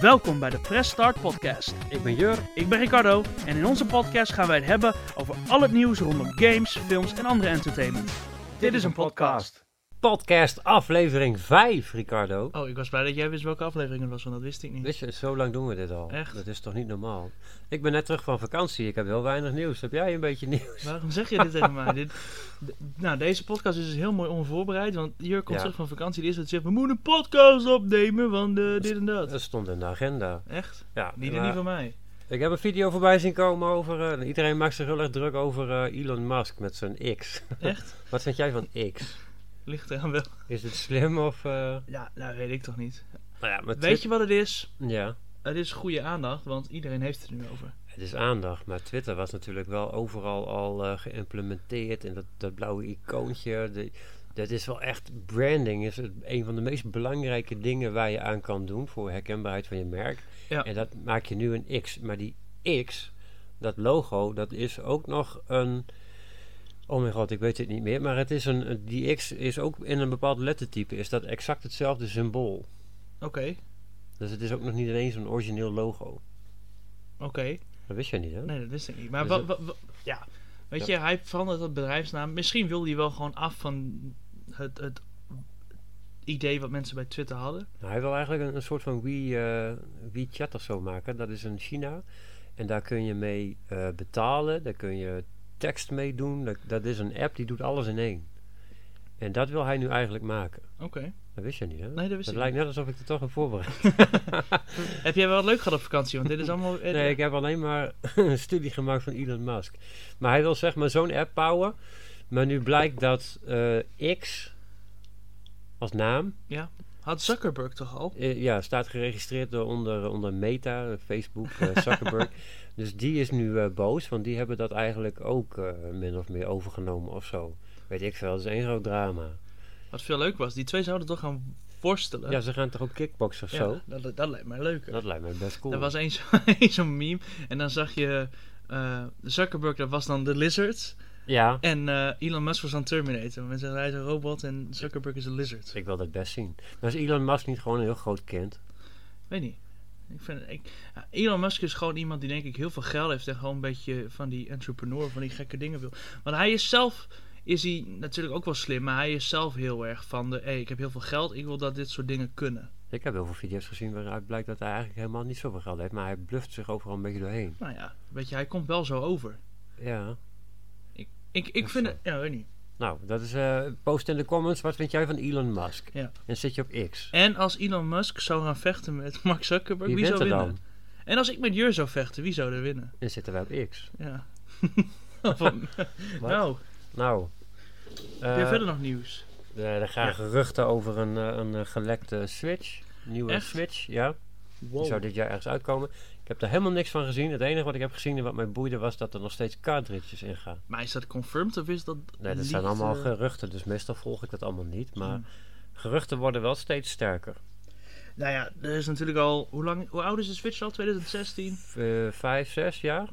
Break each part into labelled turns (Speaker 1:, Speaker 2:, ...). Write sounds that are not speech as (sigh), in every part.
Speaker 1: Welkom bij de Press Start Podcast.
Speaker 2: Ik ben Jur.
Speaker 1: Ik ben Ricardo en in onze podcast gaan wij het hebben over al het nieuws rondom games, films en andere entertainment. Dit is een podcast.
Speaker 2: Podcast aflevering 5, Ricardo.
Speaker 1: Oh, ik was blij dat jij wist welke aflevering het was, want dat wist ik niet.
Speaker 2: Weet je, zo lang doen we dit al.
Speaker 1: Echt?
Speaker 2: Dat is toch niet normaal? Ik ben net terug van vakantie. Ik heb heel weinig nieuws. Heb jij een beetje nieuws?
Speaker 1: Waarom zeg je dit tegen mij? Dit, (laughs) d- nou, deze podcast is dus heel mooi onvoorbereid, want Jur komt
Speaker 2: Ja.
Speaker 1: terug van vakantie. Die is dat zegt, we moeten een podcast opnemen, want eh, dit en dat.
Speaker 2: Dat stond in de agenda.
Speaker 1: Echt?
Speaker 2: Ja,
Speaker 1: Niet en
Speaker 2: maar
Speaker 1: niet van mij.
Speaker 2: Ik heb een video voorbij zien komen over... eh, iedereen maakt zich heel erg druk over eh, Elon Musk met zijn X. (laughs)
Speaker 1: Echt?
Speaker 2: Wat vind jij van X?
Speaker 1: Ligt eraan wel.
Speaker 2: Is het slim of... eh,
Speaker 1: Ja, nou weet ik toch niet.
Speaker 2: Nou ja, maar
Speaker 1: Weet je wat het is?
Speaker 2: Twi- Ja,
Speaker 1: Het is goede aandacht, want iedereen heeft het er nu over.
Speaker 2: het is aandacht. Maar Twitter was natuurlijk wel overal al eh, geïmplementeerd. En dat, dat blauwe icoontje... de- dat is wel echt... Branding is het, een van de meest belangrijke dingen waar je aan kan doen... voor herkenbaarheid van je merk.
Speaker 1: Ja.
Speaker 2: En dat maak je nu een X. Maar die X, dat logo, dat is ook nog een... Oh mijn god, ik weet het niet meer. Maar het is een, een- die X is ook in een bepaald lettertype... is dat exact hetzelfde symbool.
Speaker 1: Oké,
Speaker 2: Dus het is ook nog niet ineens een origineel logo.
Speaker 1: oké.
Speaker 2: Dat wist jij niet, hè?
Speaker 1: Nee, dat wist ik niet. Maar
Speaker 2: Dus
Speaker 1: wa-
Speaker 2: het-
Speaker 1: wa- wa- ja, weet je, hij verandert dat bedrijfsnaam. Misschien wilde hij wel gewoon af van het, het idee wat mensen bij Twitter hadden.
Speaker 2: Nou, hij wil eigenlijk een, een soort van Wii, eh WeChat of zo maken. Dat is in China. En daar kun je mee eh, betalen. Daar kun je tekst mee doen. Dat, dat is een app die doet alles in één. En dat wil hij nu eigenlijk maken.
Speaker 1: Oké.
Speaker 2: Dat wist je niet, hè?
Speaker 1: Nee, dat wist
Speaker 2: Het
Speaker 1: ik
Speaker 2: lijkt net alsof ik er toch een voorbereid.
Speaker 1: niet. Heb jij wel wat leuk gehad op vakantie? Want dit is allemaal... eh,
Speaker 2: (laughs) Nee, ik heb alleen maar (laughs) een studie gemaakt van Elon Musk. Maar hij wil zeg maar zo'n app bouwen. Maar nu blijkt dat eh, X als naam
Speaker 1: Had Zuckerberg toch al?
Speaker 2: eh, ja, staat geregistreerd door onder, onder Meta, eh, Facebook, (laughs) eh, Zuckerberg. dus die is nu eh, boos, want die hebben dat eigenlijk ook eh, min of meer overgenomen of zo. Weet ik veel, dat is één groot drama.
Speaker 1: Wat veel leuk was. Die twee zouden toch gaan worstelen?
Speaker 2: Ja, ze gaan toch ook kickboxen of
Speaker 1: Ja,
Speaker 2: zo?
Speaker 1: dat, dat lijkt mij leuker.
Speaker 2: Dat lijkt mij best cool.
Speaker 1: Er was eens (laughs) zo'n meme. En dan zag je... eh, Zuckerberg, dat was dan de lizard.
Speaker 2: Ja,
Speaker 1: En eh, Elon Musk was dan Terminator. Mensen zeggen, hij is een robot en Zuckerberg is een lizard.
Speaker 2: ik wil dat best zien. Maar is Elon Musk niet gewoon een heel groot kind?
Speaker 1: Weet niet. Ik vind, ik, ja, Elon Musk is gewoon iemand die denk ik heel veel geld heeft en gewoon een beetje van die entrepreneur, van die gekke dingen wil. Want hij is zelf, is hij natuurlijk ook wel slim, maar hij is zelf heel erg van de, hey, ik heb heel veel geld, ik wil dat dit soort dingen kunnen.
Speaker 2: Ik heb heel veel video's gezien waaruit blijkt dat hij eigenlijk helemaal niet zoveel geld heeft. Maar hij bluft zich overal een beetje doorheen.
Speaker 1: Nou ja, weet je, hij komt wel zo over.
Speaker 2: Ja.
Speaker 1: Ik, ik
Speaker 2: Of
Speaker 1: vind
Speaker 2: zo.
Speaker 1: het, ja, weet niet.
Speaker 2: Nou, dat is... eh, post in de comments, wat vind jij van Elon Musk?
Speaker 1: Ja.
Speaker 2: En zit je op X.
Speaker 1: En als Elon Musk zou gaan vechten met Mark Zuckerberg,
Speaker 2: Wie
Speaker 1: wie,
Speaker 2: wint
Speaker 1: zou
Speaker 2: er
Speaker 1: winnen?
Speaker 2: dan?
Speaker 1: En als ik met Jur zou vechten, wie zou er winnen?
Speaker 2: En zitten wij op X. (laughs)
Speaker 1: Ja. Van- nou,
Speaker 2: Nou.
Speaker 1: heb
Speaker 2: eh,
Speaker 1: je verder nog nieuws?
Speaker 2: eh, er gaan geruchten over een, eh, een eh, gelekte Switch. Nieuwe
Speaker 1: Echt?
Speaker 2: Switch, ja. Die zou
Speaker 1: Wow.
Speaker 2: dit jaar ergens uitkomen. Ik heb er helemaal niks van gezien. Het enige wat ik heb gezien en wat mij boeide was dat er nog steeds cartridges in gaan.
Speaker 1: Maar is dat confirmed of is dat
Speaker 2: Nee, dat
Speaker 1: leaked,
Speaker 2: zijn allemaal
Speaker 1: eh?
Speaker 2: geruchten, dus meestal volg ik dat allemaal niet. Maar
Speaker 1: Hmm.
Speaker 2: geruchten worden wel steeds sterker.
Speaker 1: Nou ja, er is natuurlijk al. Hoe, lang, hoe oud is de Switch al? 2016?
Speaker 2: V- eh, vijf, zes jaar,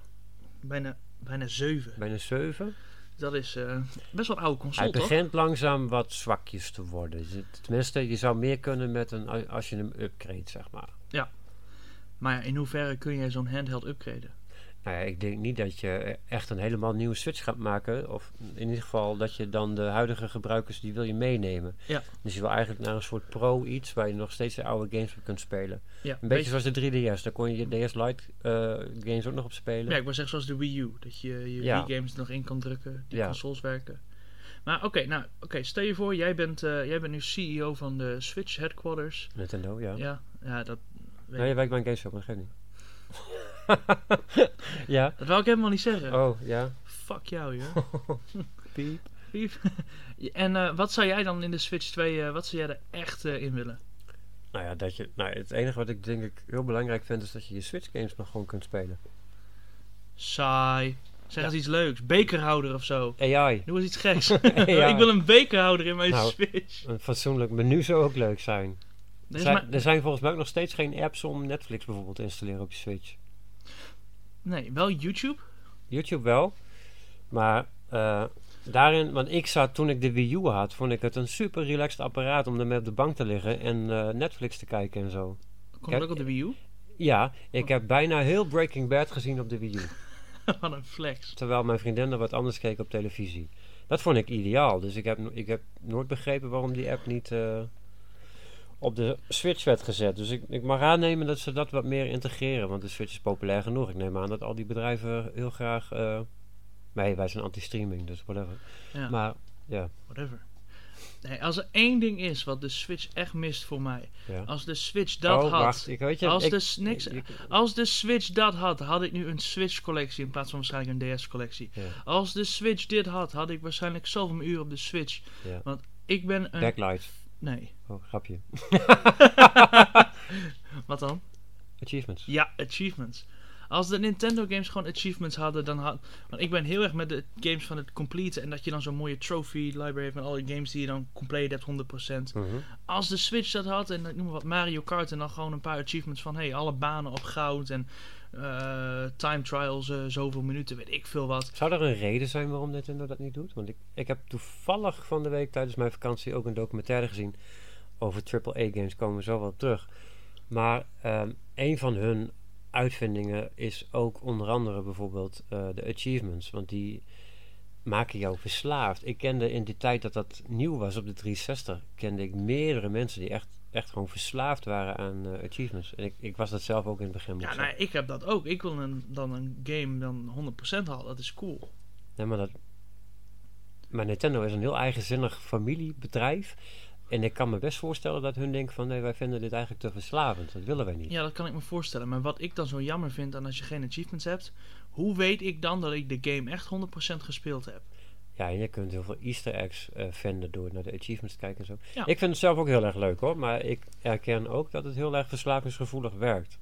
Speaker 1: Bijna, bijna 7.
Speaker 2: bijna zeven.
Speaker 1: Dat is eh, best wel een oude console,
Speaker 2: Hij
Speaker 1: toch?
Speaker 2: begint langzaam wat zwakjes te worden. Z- Tenminste, je zou meer kunnen met een, a- als je hem upgrade, zeg maar.
Speaker 1: Maar ja, in hoeverre kun jij zo'n handheld upgraden?
Speaker 2: Nou ja, ik denk niet dat je echt een helemaal nieuwe switch gaat maken. Of in ieder geval dat je dan de huidige gebruikers, die wil je meenemen.
Speaker 1: Ja.
Speaker 2: Dus je wil eigenlijk naar een soort pro iets waar je nog steeds de oude games op kunt spelen.
Speaker 1: Ja,
Speaker 2: Een beetje zoals de 3DS, daar kon je je DS Lite eh, games ook nog op spelen.
Speaker 1: ja, ik wil zeggen zoals de Wii U. Dat je je
Speaker 2: Ja.
Speaker 1: Wii-games er nog in kan drukken, die
Speaker 2: Ja.
Speaker 1: consoles werken. Maar oké, nou, oké, stel je voor, jij bent, eh, jij bent nu CEO van de Switch Headquarters.
Speaker 2: Nintendo, ja. Nee,
Speaker 1: Ja, ja dat,
Speaker 2: ja. je werkt bij een GameStop, maar geef niet. (laughs) ja.
Speaker 1: dat wou ik helemaal niet zeggen.
Speaker 2: Oh, ja.
Speaker 1: Fuck jou, joh.
Speaker 2: (laughs) Piep.
Speaker 1: Piep. (laughs) en eh, wat zou jij dan in de Switch 2, eh, wat zou jij er echt eh, in willen?
Speaker 2: Nou ja, dat je, nou, het enige wat ik denk ik heel belangrijk vind is dat je je Switch games nog gewoon kunt spelen.
Speaker 1: Saai. Zeg eens iets leuks. Bekerhouder of zo.
Speaker 2: AI.
Speaker 1: Doe eens iets
Speaker 2: (laughs)
Speaker 1: geks. (laughs)
Speaker 2: Ja.
Speaker 1: Ik wil een bekerhouder in mijn
Speaker 2: Nou,
Speaker 1: Switch.
Speaker 2: Een fatsoenlijk menu zou ook leuk zijn.
Speaker 1: Er is
Speaker 2: zijn,
Speaker 1: maar-
Speaker 2: er zijn volgens mij ook nog steeds geen apps om Netflix bijvoorbeeld te installeren op je Switch.
Speaker 1: Nee, wel YouTube.
Speaker 2: YouTube wel, maar eh, daarin, want ik zat toen ik de Wii U had, vond ik het een super relaxed apparaat om ermee op de bank te liggen en eh, Netflix te kijken en zo.
Speaker 1: Komt
Speaker 2: Kijk,
Speaker 1: ook op de Wii U. (laughs)
Speaker 2: Ja,
Speaker 1: Oh.
Speaker 2: ik heb bijna heel Breaking Bad gezien op de Wii U.
Speaker 1: Wat een flex.
Speaker 2: Terwijl mijn vriendin naar wat anders keek op televisie. Dat vond ik ideaal. Dus ik heb, no- ik heb nooit begrepen waarom die app niet eh, op de Switch werd gezet. Dus ik, ik mag aannemen dat ze dat wat meer integreren. Want de Switch is populair genoeg. Ik neem aan dat al die bedrijven heel graag... eh nee, wij zijn anti-streaming, dus whatever.
Speaker 1: Ja.
Speaker 2: Maar ja,
Speaker 1: Whatever. Nee, als er één ding is wat de Switch echt mist voor mij.
Speaker 2: ja.
Speaker 1: Als de Switch dat
Speaker 2: Oh,
Speaker 1: had.
Speaker 2: wacht, ik weet je,
Speaker 1: als,
Speaker 2: ik-
Speaker 1: de s- niks,
Speaker 2: ik-
Speaker 1: als de Switch dat had, had ik nu een Switch collectie in plaats van waarschijnlijk een DS collectie.
Speaker 2: Ja.
Speaker 1: Als de Switch dit had, had ik waarschijnlijk zoveel uur op de Switch.
Speaker 2: Ja.
Speaker 1: Want ik ben een.
Speaker 2: Backlight.
Speaker 1: Nee.
Speaker 2: Oh, grapje.
Speaker 1: Wat dan?
Speaker 2: Achievements.
Speaker 1: Ja, achievements. Als de Nintendo games gewoon achievements hadden, dan had. Want ik ben heel erg met de games van het complete. En dat je dan zo'n mooie trophy library hebt met alle games die je dan complete hebt 100%.
Speaker 2: Mhm.
Speaker 1: als de Switch dat had, en ik noem maar wat Mario Kart, en dan gewoon een paar achievements van hey, alle banen op goud en eh, time trials, eh, zoveel minuten, weet ik veel wat.
Speaker 2: Zou er een reden zijn waarom Nintendo dat niet doet? Want ik, ik heb toevallig van de week tijdens mijn vakantie ook een documentaire gezien over AAA-games. Komen we zo wel op terug. Maar ehm, een van hun uitvindingen is ook onder andere bijvoorbeeld eh, de achievements. Want die maken jou verslaafd. Ik kende in die tijd dat dat nieuw was op de 360, kende ik meerdere mensen die echt, echt gewoon verslaafd waren aan eh, achievements. En ik, ik was dat zelf ook in het begin. moet ik
Speaker 1: Ja,
Speaker 2: zeggen.
Speaker 1: nou, ik heb dat ook. Ik wil een, dan een game dan 100% halen, dat is cool.
Speaker 2: Nee, maar dat... Maar Nintendo is een heel eigenzinnig familiebedrijf. En ik kan me best voorstellen dat hun denken van... nee, wij vinden dit eigenlijk te verslavend. Dat willen wij niet.
Speaker 1: Ja, dat kan ik me voorstellen. Maar wat ik dan zo jammer vind aan als je geen achievements hebt, hoe weet ik dan dat ik de game echt 100% gespeeld heb?
Speaker 2: Ja, en je kunt heel veel easter eggs eh, vinden... door naar de achievements te kijken en zo.
Speaker 1: Ja.
Speaker 2: Ik vind het zelf ook heel erg leuk hoor. Maar ik erken ook dat het heel erg verslavingsgevoelig werkt.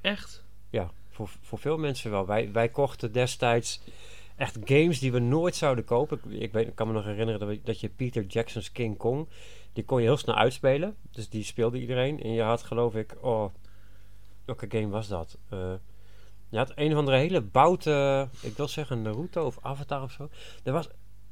Speaker 1: Echt?
Speaker 2: Ja, voor, voor veel mensen wel. Wij, wij kochten destijds echt games die we nooit zouden kopen. Ik, ik, weet, ik kan me nog herinneren dat, we- dat je Peter Jackson's King Kong... die kon je heel snel uitspelen. Dus die speelde iedereen. En je had geloof ik... Oh, welke game was dat? Eh, je had een of andere hele bouten... Ik wil zeggen Naruto of Avatar of zo. Er was,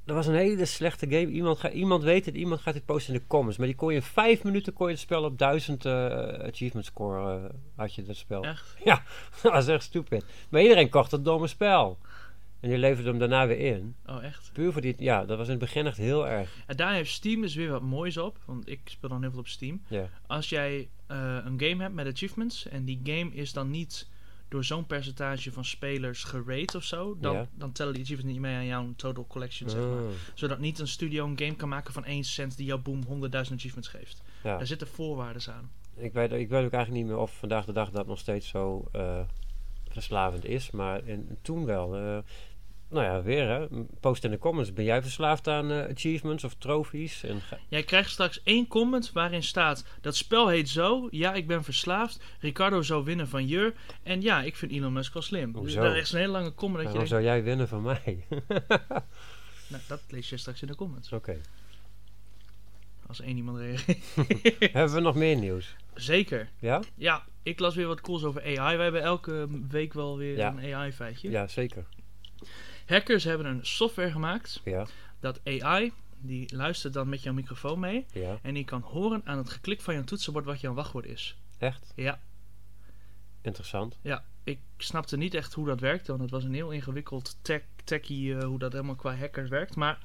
Speaker 2: er was een hele slechte game. Iemand, ga, iemand weet het, iemand gaat het posten in de comments. Maar die kon je in vijf minuten kon je het spel op duizend eh, achievement score... eh, had je dat spel.
Speaker 1: Echt?
Speaker 2: Ja, (laughs) dat was echt stupid. Maar iedereen kocht dat domme spel. En die leverde hem daarna weer in.
Speaker 1: Oh, echt?
Speaker 2: Puur voor die... Ja, dat was in het begin echt heel erg.
Speaker 1: En daar heeft Steam dus weer wat moois op, want ik speel dan heel veel op Steam.
Speaker 2: Ja.
Speaker 1: als jij eh, een game hebt met achievements en die game is dan niet door zo'n percentage van spelers gerate of zo, dan,
Speaker 2: Ja.
Speaker 1: dan tellen die achievements niet mee aan jouw total collection, zeg maar.
Speaker 2: Ah,
Speaker 1: Zodat niet een studio een game kan maken van 1 cent die jou boom 100.000 achievements geeft.
Speaker 2: ja.
Speaker 1: Daar zitten voorwaarden aan.
Speaker 2: Ik, weet, ik weet ook eigenlijk niet meer of vandaag de dag dat nog steeds zo eh, verslavend is. Maar in, toen wel. eh, nou ja, weer hè. Post in de comments. Ben jij verslaafd aan eh, achievements of trofies? En ga-
Speaker 1: Jij krijgt straks één comment waarin staat: dat spel heet zo, ja, ik ben verslaafd, Ricardo zou winnen van Jur en ja, ik vind Elon Musk wel slim. Dus
Speaker 2: Hoezo?
Speaker 1: daar is een hele lange comment dat je
Speaker 2: waarom
Speaker 1: denkt,
Speaker 2: zou jij winnen van mij? (laughs) Oké.
Speaker 1: nou, dat lees je straks in de comments. (laughs) Als één iemand reageert. (laughs)
Speaker 2: Hebben we nog meer nieuws?
Speaker 1: Zeker.
Speaker 2: Ja?
Speaker 1: Ja, ik las weer wat cools over AI. Wij hebben elke week wel weer
Speaker 2: Ja.
Speaker 1: een AI-feitje.
Speaker 2: Ja, zeker.
Speaker 1: Hackers hebben een software gemaakt
Speaker 2: Ja,
Speaker 1: dat AI, die luistert dan met jouw microfoon mee.
Speaker 2: ja.
Speaker 1: En die kan horen aan het geklik van jouw toetsenbord wat jouw wachtwoord is.
Speaker 2: Echt?
Speaker 1: Ja.
Speaker 2: Interessant.
Speaker 1: Ja, ik snapte niet echt hoe dat werkte, want het was een heel ingewikkeld tech, techie eh, hoe dat helemaal qua hackers werkt. Maar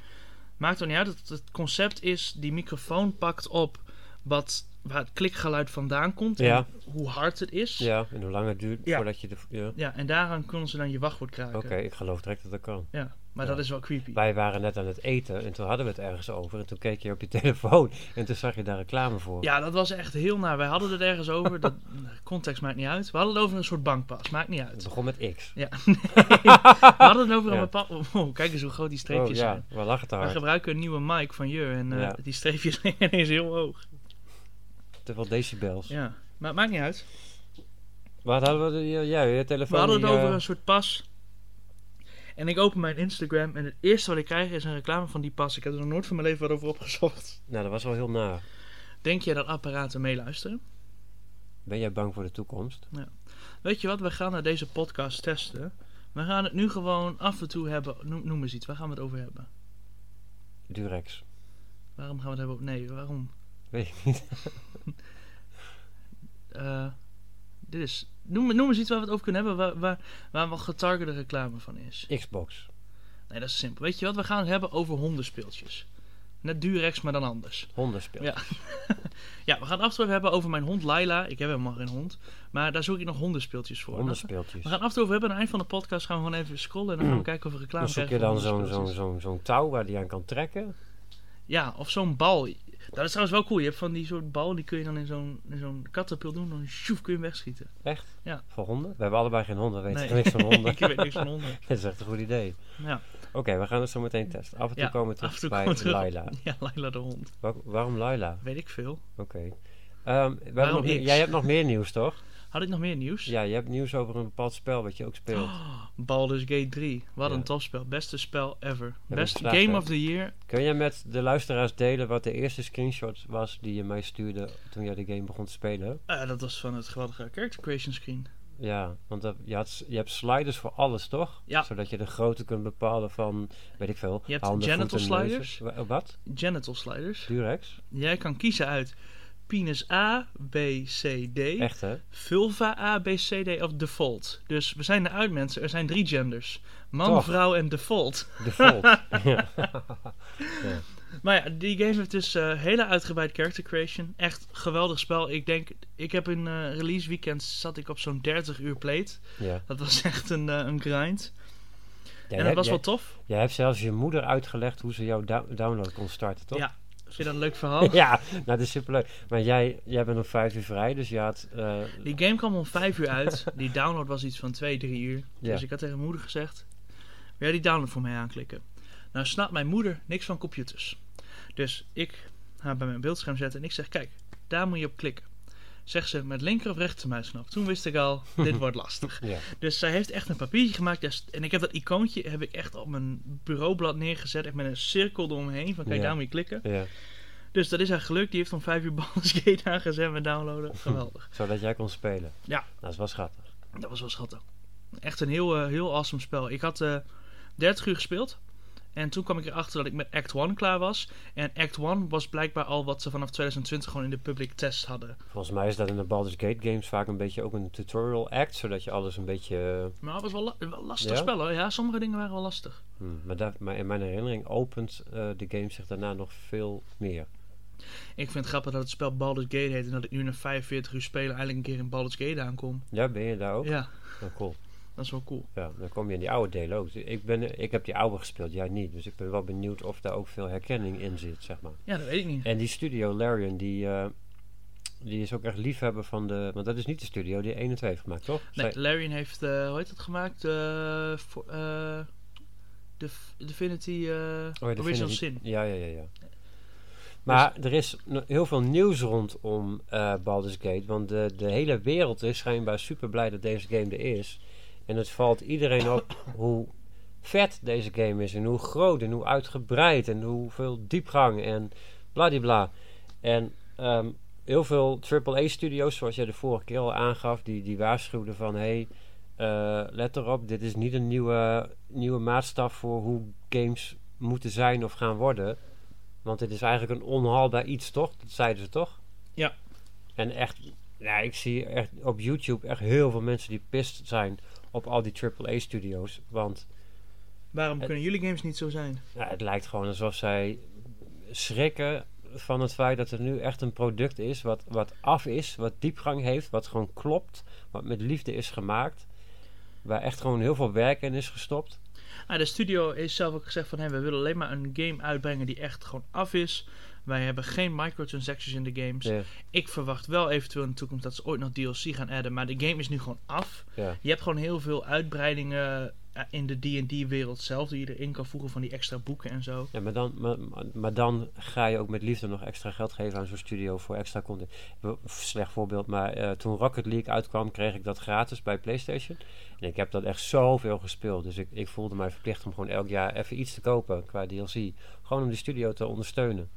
Speaker 1: maakt er niet uit, het, het concept is die microfoon pakt op wat, waar het klikgeluid vandaan komt
Speaker 2: Ja.
Speaker 1: en hoe hard het is.
Speaker 2: Ja, en hoe lang het duurt
Speaker 1: Ja.
Speaker 2: voordat je de... Ja.
Speaker 1: Ja, en daaraan kunnen ze dan je wachtwoord kraken.
Speaker 2: Oké, ik geloof direct dat dat kan.
Speaker 1: Ja, maar
Speaker 2: Ja.
Speaker 1: dat is wel creepy.
Speaker 2: Wij waren net aan het eten en toen hadden we het ergens over. En toen keek je (laughs) op je telefoon en toen zag je daar reclame voor.
Speaker 1: Ja, dat was echt heel naar. Wij hadden het ergens over. Dat, (laughs) context maakt niet uit. We hadden het over een soort bankpas. Maakt niet
Speaker 2: Het (laughs)
Speaker 1: uit.
Speaker 2: begon met X.
Speaker 1: We hadden het over een
Speaker 2: Ja.
Speaker 1: bepaald... Oh, oh, kijk eens hoe groot die
Speaker 2: Oh
Speaker 1: streepjes
Speaker 2: ja,
Speaker 1: zijn.
Speaker 2: we lachen te
Speaker 1: We
Speaker 2: hard.
Speaker 1: gebruiken een nieuwe mic van Jur. En eh,
Speaker 2: Ja.
Speaker 1: die (laughs) streepjes liggen ineens heel hoog.
Speaker 2: Te veel decibels.
Speaker 1: Ja, maar het maakt niet uit.
Speaker 2: Wat hadden we? de- Ja, je telefoon.
Speaker 1: We hadden het
Speaker 2: die, eh,
Speaker 1: over een soort pas. En ik open mijn Instagram. En het eerste wat ik krijg is een reclame van die pas. Ik heb er nog nooit van mijn leven wat over opgezocht. (laughs)
Speaker 2: Nou, dat was wel heel na.
Speaker 1: Denk jij dat apparaten meeluisteren?
Speaker 2: Ben jij bang voor de toekomst?
Speaker 1: Weet je wat, we gaan naar deze podcast testen. We gaan het nu gewoon af en toe hebben. Noem, noem eens iets, waar gaan we het over hebben?
Speaker 2: Durex.
Speaker 1: Waarom gaan we het hebben? over- Nee, waarom?
Speaker 2: Weet ik niet.
Speaker 1: (laughs) Eh, Dit is, noem, noem eens iets waar we het over kunnen hebben, waar, waar, waar wel getargete reclame van is.
Speaker 2: Xbox.
Speaker 1: Nee, dat is simpel. Weet je wat, we gaan het hebben over hondenspeeltjes. Net Durex, maar dan anders.
Speaker 2: Hondenspeel.
Speaker 1: Ja. Ja, we gaan het afterwave hebben over mijn hond Laila. Ik heb helemaal geen hond. Maar daar zoek ik nog hondenspeeltjes voor.
Speaker 2: Hondenspeeltjes.
Speaker 1: We gaan afterwave hebben. Aan het eind van de podcast gaan we gewoon even scrollen. En dan gaan we kijken of we reclame
Speaker 2: Dan zoek je
Speaker 1: krijgen
Speaker 2: dan
Speaker 1: voor
Speaker 2: zo'n zo'n
Speaker 1: hondenspeeltjes.
Speaker 2: zo'n zo'n touw waar die aan kan trekken.
Speaker 1: Ja, of zo'n bal. Dat is trouwens wel cool. Je hebt van die soort bal, die kun je dan in zo'n, in zo'n katapult doen. Dan sjoef, kun je hem wegschieten.
Speaker 2: Echt?
Speaker 1: Ja.
Speaker 2: Voor honden? We hebben allebei geen honden, we weten
Speaker 1: Nee.
Speaker 2: niks van
Speaker 1: (laughs)
Speaker 2: honden.
Speaker 1: Ik weet niks van honden.
Speaker 2: (laughs) Dat is echt een goed idee.
Speaker 1: Ja,
Speaker 2: Oké, we gaan het zo meteen testen. Af en toe
Speaker 1: Ja,
Speaker 2: komen we
Speaker 1: af
Speaker 2: terug
Speaker 1: en toe
Speaker 2: bij
Speaker 1: komen we terug.
Speaker 2: Laila.
Speaker 1: ja Laila de hond.
Speaker 2: Wa- waarom Laila?
Speaker 1: Weet ik veel.
Speaker 2: Oké. Ehm, we hebben nog meer-
Speaker 1: X?
Speaker 2: jij hebt nog meer nieuws, toch?
Speaker 1: (laughs) Had ik nog meer nieuws?
Speaker 2: Ja, je hebt nieuws over een bepaald spel wat je ook speelt.
Speaker 1: Oh. Baldur's Gate 3. Wat
Speaker 2: Ja.
Speaker 1: een topspel. Beste spel ever.
Speaker 2: ik
Speaker 1: Best
Speaker 2: gevraagd,
Speaker 1: game
Speaker 2: hè?
Speaker 1: of the year.
Speaker 2: Kun jij met de luisteraars delen wat de eerste screenshot was die je mij stuurde toen jij de game begon te spelen?
Speaker 1: Eh, dat was van het geweldige character creation screen.
Speaker 2: Ja, want dat- je, had, s- je hebt sliders voor alles, toch?
Speaker 1: Ja.
Speaker 2: Zodat je de grootte kunt bepalen van, weet ik veel,
Speaker 1: Je hebt
Speaker 2: handen,
Speaker 1: genital
Speaker 2: voeten, neuzen.
Speaker 1: sliders.
Speaker 2: Wa- eh, Wat?
Speaker 1: Genital sliders.
Speaker 2: Durex?
Speaker 1: Jij kan kiezen uit penis A, B, C, D.
Speaker 2: Echt, hè?
Speaker 1: Vulva A, B, C, D of default. Dus we zijn eruit mensen. Er zijn drie genders. Man,
Speaker 2: Toch.
Speaker 1: vrouw en default. (laughs)
Speaker 2: Default. ja.
Speaker 1: Maar ja, die game heeft dus eh, hele uitgebreid character creation. Echt geweldig spel. Ik denk, ik heb in eh, release weekend zat ik op zo'n 30 uur played.
Speaker 2: ja.
Speaker 1: Dat was (laughs) echt een, eh, een grind. en dat
Speaker 2: Jij, hebt-
Speaker 1: was
Speaker 2: jij,
Speaker 1: wel tof.
Speaker 2: jij hebt zelfs je moeder uitgelegd hoe ze jouw dou- download kon starten, toch?
Speaker 1: Ja. Vind je dat een leuk (laughs)
Speaker 2: (laughs)
Speaker 1: verhaal?
Speaker 2: Ja, nou, dat is superleuk. Maar jij, jij bent om vijf uur vrij, dus je had... eh,
Speaker 1: Die game kwam om 5 uur uit. Die download was iets van 2, 3 uur.
Speaker 2: Ja.
Speaker 1: Dus ik had tegen mijn moeder gezegd: Wil jij die download voor mij aanklikken? Nou snapt mijn moeder niks van computers. Dus ik haar bij mijn beeldscherm zetten en ik zeg: Kijk, daar moet je op klikken. Zegt ze met linker of rechter muisknop. Toen wist ik
Speaker 2: (laughs)
Speaker 1: al, dit wordt lastig.
Speaker 2: ja.
Speaker 1: Dus zij heeft echt een papiertje gemaakt. daar st- En ik heb dat icoontje heb ik echt op mijn bureaublad neergezet. Echt met een cirkel eromheen. Van kijk,
Speaker 2: Ja.
Speaker 1: daar moet je klikken.
Speaker 2: ja.
Speaker 1: Dus dat is haar geluk. Die heeft om 5 uur (laughs) Baldur's Gate aangezet met downloaden. Geweldig.
Speaker 2: Zodat jij kon spelen.
Speaker 1: Ja.
Speaker 2: Nou, Dat is wel schattig.
Speaker 1: Dat was wel schattig. Echt een heel, eh, heel awesome spel. Ik had eh 30 uur gespeeld. En toen kwam ik erachter dat ik met Act 1 klaar was. En Act 1 was blijkbaar al wat ze vanaf 2020 gewoon in de public test hadden.
Speaker 2: Volgens mij is dat in de Baldur's Gate games vaak een beetje ook een tutorial act, zodat je alles een beetje... eh,
Speaker 1: Maar het was wel, la- wel lastig
Speaker 2: Ja?
Speaker 1: spel hoor. Ja, sommige dingen waren wel lastig.
Speaker 2: hmm, maar, daar- maar in mijn herinnering opent eh, de game zich daarna nog veel meer.
Speaker 1: Ik vind het grappig dat het spel Baldur's Gate heet. En dat ik nu na 45 uur spelen eindelijk een keer in Baldur's Gate aankom.
Speaker 2: Ja, ben je daar ook?
Speaker 1: Ja,
Speaker 2: Nou, cool.
Speaker 1: dat is wel cool.
Speaker 2: Ja, dan kom je in die oude delen ook. Ik, ben, ik heb die oude gespeeld, jij niet. Dus ik ben wel benieuwd of daar ook veel herkenning in zit, zeg maar.
Speaker 1: Ja, dat weet ik niet.
Speaker 2: En die studio Larian, die, eh, die is ook echt liefhebber van de... Want dat is niet de studio die 1 en 2 heeft gemaakt, toch?
Speaker 1: Nee,
Speaker 2: Zij-
Speaker 1: Larian heeft, eh, hoe heet dat gemaakt? Eh voor, eh, Def- Divinity eh,
Speaker 2: Oh ja, dat
Speaker 1: Original
Speaker 2: vinden
Speaker 1: Sin.
Speaker 2: die- Ja, ja, ja. ja. Maar er is n- heel veel nieuws rondom eh Baldur's Gate. Want de, de hele wereld is schijnbaar super blij dat deze game er is. En het valt iedereen op hoe vet deze game is. En hoe groot en hoe uitgebreid. En hoeveel diepgang en bladibla. En ehm, heel veel AAA-studio's, zoals jij de vorige keer al aangaf, die, die waarschuwden van... Hey, eh, let erop, dit is niet een nieuwe, nieuwe maatstaf voor hoe games moeten zijn of gaan worden. Want dit is eigenlijk een onhaalbaar iets, toch? Dat zeiden ze toch?
Speaker 1: Ja.
Speaker 2: En echt, nou, ik zie echt op YouTube echt heel veel mensen die pist zijn op al die AAA-studio's. Want
Speaker 1: Waarom kunnen jullie games niet zo zijn?
Speaker 2: nou, het lijkt gewoon alsof zij schrikken van het feit dat er nu echt een product is wat, wat af is, wat diepgang heeft, wat gewoon klopt, wat met liefde is gemaakt. Waar echt gewoon heel veel werk in is gestopt.
Speaker 1: Ah, de studio heeft zelf ook gezegd van... Hey, we willen alleen maar een game uitbrengen die echt gewoon af is. Wij hebben geen microtransactions in de games.
Speaker 2: Ja,
Speaker 1: Ik verwacht wel eventueel in de toekomst dat ze ooit nog DLC gaan adden. Maar de game is nu gewoon af.
Speaker 2: ja.
Speaker 1: Je hebt gewoon heel veel uitbreidingen eh, in de D&D-wereld zelf... die je erin kan voegen van die extra boeken en zo.
Speaker 2: Ja, maar, dan, maar, maar- maar dan ga je ook met liefde nog extra geld geven aan zo'n studio voor extra content. Be- Slecht voorbeeld, maar eh, toen Rocket League uitkwam, kreeg ik dat gratis bij PlayStation. En ik heb dat echt zoveel gespeeld. Dus ik, ik voelde mij verplicht om gewoon elk jaar even iets te kopen qua DLC. Gewoon om die studio te ondersteunen.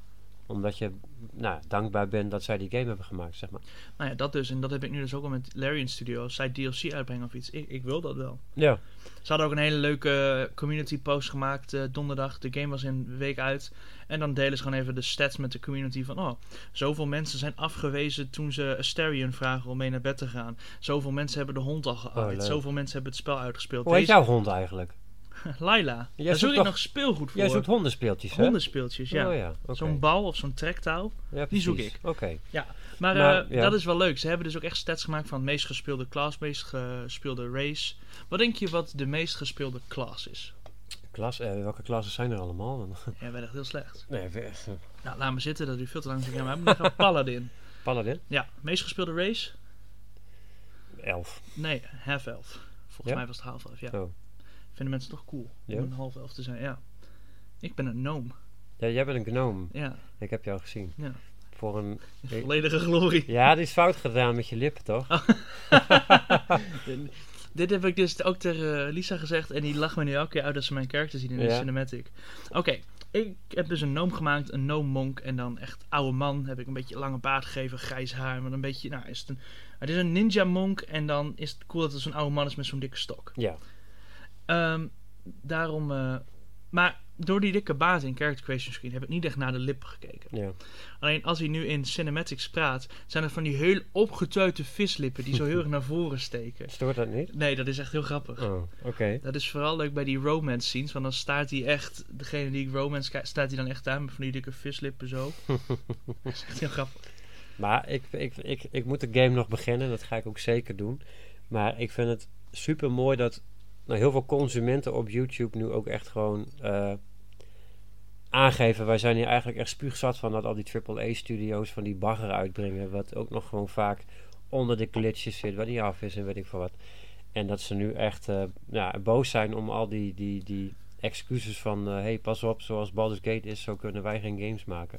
Speaker 2: Omdat je nou, dankbaar bent dat zij die game hebben gemaakt, zeg maar.
Speaker 1: Nou ja, dat dus. En dat heb ik nu dus ook al met Larian Studio. Als zij DLC uitbrengen of iets, ik, ik wil dat wel.
Speaker 2: Ja.
Speaker 1: Ze hadden ook een hele leuke eh, community post gemaakt eh, donderdag. De game was een week uit. En dan delen ze gewoon even de stats met de community van... Oh, zoveel mensen zijn afgewezen toen ze Asterion vragen om mee naar bed te gaan. Zoveel mensen hebben de hond al
Speaker 2: Oh,
Speaker 1: geuit.
Speaker 2: leuk.
Speaker 1: zoveel mensen hebben het spel uitgespeeld.
Speaker 2: Hoe heet jouw hond eigenlijk?
Speaker 1: Laila.
Speaker 2: Jij
Speaker 1: Daar
Speaker 2: zoekt
Speaker 1: zoek ik
Speaker 2: toch-
Speaker 1: nog speelgoed voor.
Speaker 2: Jij zoekt hondenspeeltjes, hè?
Speaker 1: Hondenspeeltjes, ja.
Speaker 2: Oh ja, oké.
Speaker 1: Zo'n bal of zo'n trektouw.
Speaker 2: Ja,
Speaker 1: die zoek
Speaker 2: precies.
Speaker 1: ik.
Speaker 2: Oké.
Speaker 1: Maar,
Speaker 2: Maar,
Speaker 1: eh,
Speaker 2: ja.
Speaker 1: dat is wel leuk. Ze hebben dus ook echt stats gemaakt van meest gespeelde class, meest gespeelde race. Wat denk je wat de meest gespeelde class
Speaker 2: (laughs)
Speaker 1: is?
Speaker 2: Klas, eh, welke klassen zijn er allemaal? Want-
Speaker 1: Ja, werd echt heel slecht.
Speaker 2: Nee, we- eh,
Speaker 1: Nou, laat me zitten, dat duurt veel te lang. Ik maar we gaan Paladin.
Speaker 2: Paladin?
Speaker 1: Ja, meest gespeelde race?
Speaker 2: Elf.
Speaker 1: Nee, half elf. Volgens
Speaker 2: Ja?
Speaker 1: mij was het half elf, ja.
Speaker 2: Oh.
Speaker 1: Vinden mensen toch cool
Speaker 2: Ja.
Speaker 1: om een half elf te zijn, ja. Ik ben een noom.
Speaker 2: Ja, jij bent een gnome.
Speaker 1: Ja,
Speaker 2: Ik heb jou gezien.
Speaker 1: Ja.
Speaker 2: Voor een...
Speaker 1: in
Speaker 2: Ik-
Speaker 1: volledige glorie.
Speaker 2: Ja, die is fout gedaan met je lippen, toch?
Speaker 1: Ah. Dit heb ik dus ook tegen eh, Lisa gezegd. En die lacht me nu elke keer uit als ze mijn karakter zien in de
Speaker 2: Ja.
Speaker 1: cinematic. Oké, ik heb dus een noom gemaakt. Een noom monk. En dan echt oude man. Heb ik een beetje lange baard gegeven. Grijs haar. Maar een beetje... Nou, is het, een, het is een ninja monk. En dan is het cool dat het zo'n oude man is met zo'n dikke stok.
Speaker 2: Ja.
Speaker 1: Ehm, daarom... eh, maar door die dikke baard in character creation screen... heb ik niet echt naar de lippen gekeken.
Speaker 2: Ja.
Speaker 1: Alleen als hij nu in cinematics praat... zijn er van die heel opgetuite vislippen... die zo heel erg naar voren steken.
Speaker 2: Stoort dat niet?
Speaker 1: Nee, dat is echt heel grappig.
Speaker 2: Oh, oké.
Speaker 1: Dat is vooral leuk bij die romance scenes. Want dan staat hij echt, degene die ik romance kijkt, staat hij dan echt daar met van die dikke vislippen zo. dat is echt heel grappig.
Speaker 2: Maar ik, ik, ik, ik moet de game nog beginnen. Dat ga ik ook zeker doen. Maar ik vind het super mooi dat nou, heel veel consumenten op YouTube nu ook echt gewoon eh, aangeven. Wij zijn hier eigenlijk echt spuugzat van dat al die AAA-studio's van die bagger uitbrengen. Wat ook nog gewoon vaak onder de glitches zit, wat niet af is en weet ik veel wat. En dat ze nu echt eh, ja, boos zijn om al die, die, die excuses van... eh, hey, pas op, zoals Baldur's Gate is, zo kunnen wij geen games maken.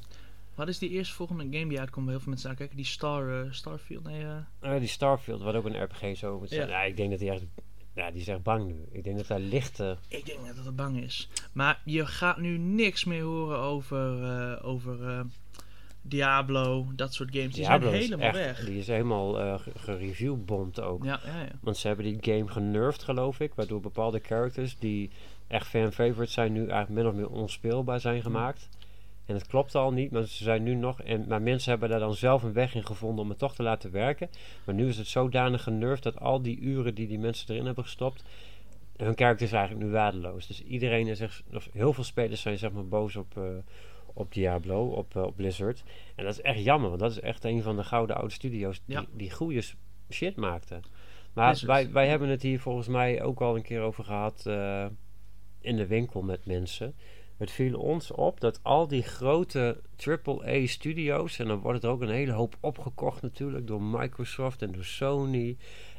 Speaker 1: Wat is die eerstvolgende game die uitkomt waar heel veel mensen naar kijken? Die Star, eh, Starfield? Nee, eh,
Speaker 2: Ah, die Starfield, wat ook een RPG zo moet zijn.
Speaker 1: Ja.
Speaker 2: Ja, ik denk dat hij echt... Ja, die is echt bang nu. Ik denk dat daar lichte...
Speaker 1: ik denk net dat het bang is. Maar je gaat nu niks meer horen over, eh, over eh, Diablo, dat soort games. Die
Speaker 2: Diablo
Speaker 1: zijn
Speaker 2: is
Speaker 1: helemaal
Speaker 2: echt-
Speaker 1: weg.
Speaker 2: Die is helemaal eh, ge- gereviewbomd ook.
Speaker 1: Ja, ja, ja.
Speaker 2: Want ze hebben die game genervd, geloof ik. Waardoor bepaalde characters die echt fan-favorite zijn... nu eigenlijk min of meer onspeelbaar zijn gemaakt. En het klopt al niet, maar ze zijn nu nog... En, maar mensen hebben daar dan zelf een weg in gevonden om het toch te laten werken. Maar nu is het zodanig genervd dat al die uren die die mensen erin hebben gestopt... Hun karakter is eigenlijk nu waardeloos. Dus iedereen is echt... Of heel veel spelers zijn zeg maar boos op, eh, op Diablo, op, eh, op Blizzard. En dat is echt jammer, want dat is echt een van de gouden oude studio's... die,
Speaker 1: Ja.
Speaker 2: die goede s- shit maakten. Maar
Speaker 1: Blizzard.
Speaker 2: wij, wij hebben het hier volgens mij ook al een keer over gehad... eh, in de winkel met mensen. Het viel ons op dat al die grote AAA-studio's, en dan wordt het ook een hele hoop opgekocht natuurlijk door Microsoft en door Sony.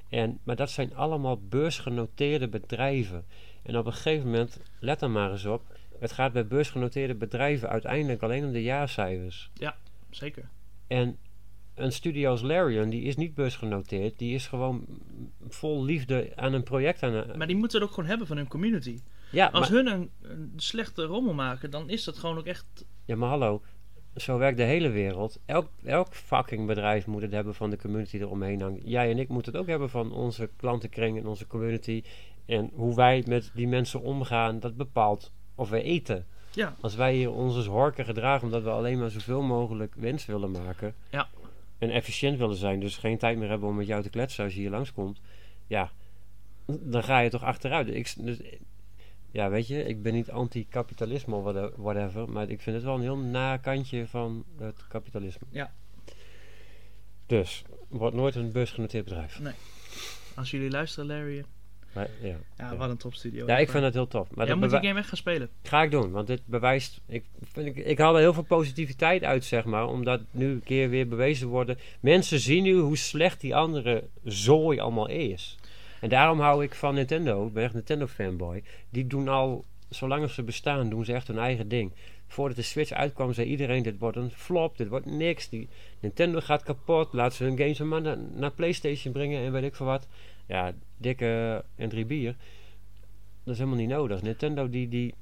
Speaker 2: En, maar dat zijn allemaal beursgenoteerde bedrijven. En op een gegeven moment, let er maar eens op, het gaat bij beursgenoteerde bedrijven uiteindelijk alleen om de jaarcijfers.
Speaker 1: Zeker.
Speaker 2: En een studio als Larian, die is niet beursgenoteerd, die is gewoon vol liefde aan een project aan.
Speaker 1: Maar die moeten het ook gewoon hebben van hun community.
Speaker 2: ja,
Speaker 1: Als
Speaker 2: Eh. maar-
Speaker 1: hun een, een slechte rommel maken, dan is dat gewoon ook echt...
Speaker 2: Ja, maar hallo. Zo werkt de hele wereld. Elk, elk fucking bedrijf moet het hebben van de community die eromheen hangt. Jij en ik moeten het ook hebben van onze klantenkring en onze community. En hoe wij met die mensen omgaan, dat bepaalt of wij eten.
Speaker 1: Ja.
Speaker 2: Als wij hier ons als horken gedragen omdat we alleen maar zoveel mogelijk winst willen maken.
Speaker 1: Ja.
Speaker 2: En efficiënt willen zijn, dus geen tijd meer hebben om met jou te kletsen als je hier langskomt. Ja, dan ga je toch achteruit. Ik, dus, ja, weet je, ik ben niet anti-kapitalisme of whate- whatever, maar ik vind het wel een heel na kantje van het kapitalisme.
Speaker 1: Ja.
Speaker 2: Dus, wordt nooit een beursgenoteerd bedrijf.
Speaker 1: Als jullie luisteren, Larry.
Speaker 2: Maar, ja.
Speaker 1: Ja,
Speaker 2: Ja.
Speaker 1: wat een topstudio.
Speaker 2: ja, ik
Speaker 1: Echt waar.
Speaker 2: vind dat heel tof. Maar
Speaker 1: Jij
Speaker 2: dat
Speaker 1: moet die
Speaker 2: bewa-
Speaker 1: game echt gaan spelen.
Speaker 2: Ga ik doen, want dit bewijst. Ik, vind, ik, ik haal er heel veel positiviteit uit, zeg maar. Omdat nu een keer weer bewezen worden. Mensen zien nu hoe slecht die andere zooi allemaal is. En daarom hou ik van Nintendo. Ik ben echt Nintendo fanboy. Die doen al, zolang als ze bestaan, doen ze echt hun eigen ding. Voordat de Switch uitkwam, zei iedereen: dit wordt een flop, dit wordt niks. Die Nintendo gaat kapot. Laat ze hun games maar na- naar PlayStation brengen en weet ik veel wat. Ja, dikke en drie bier. Dat is helemaal niet nodig. Nintendo die, die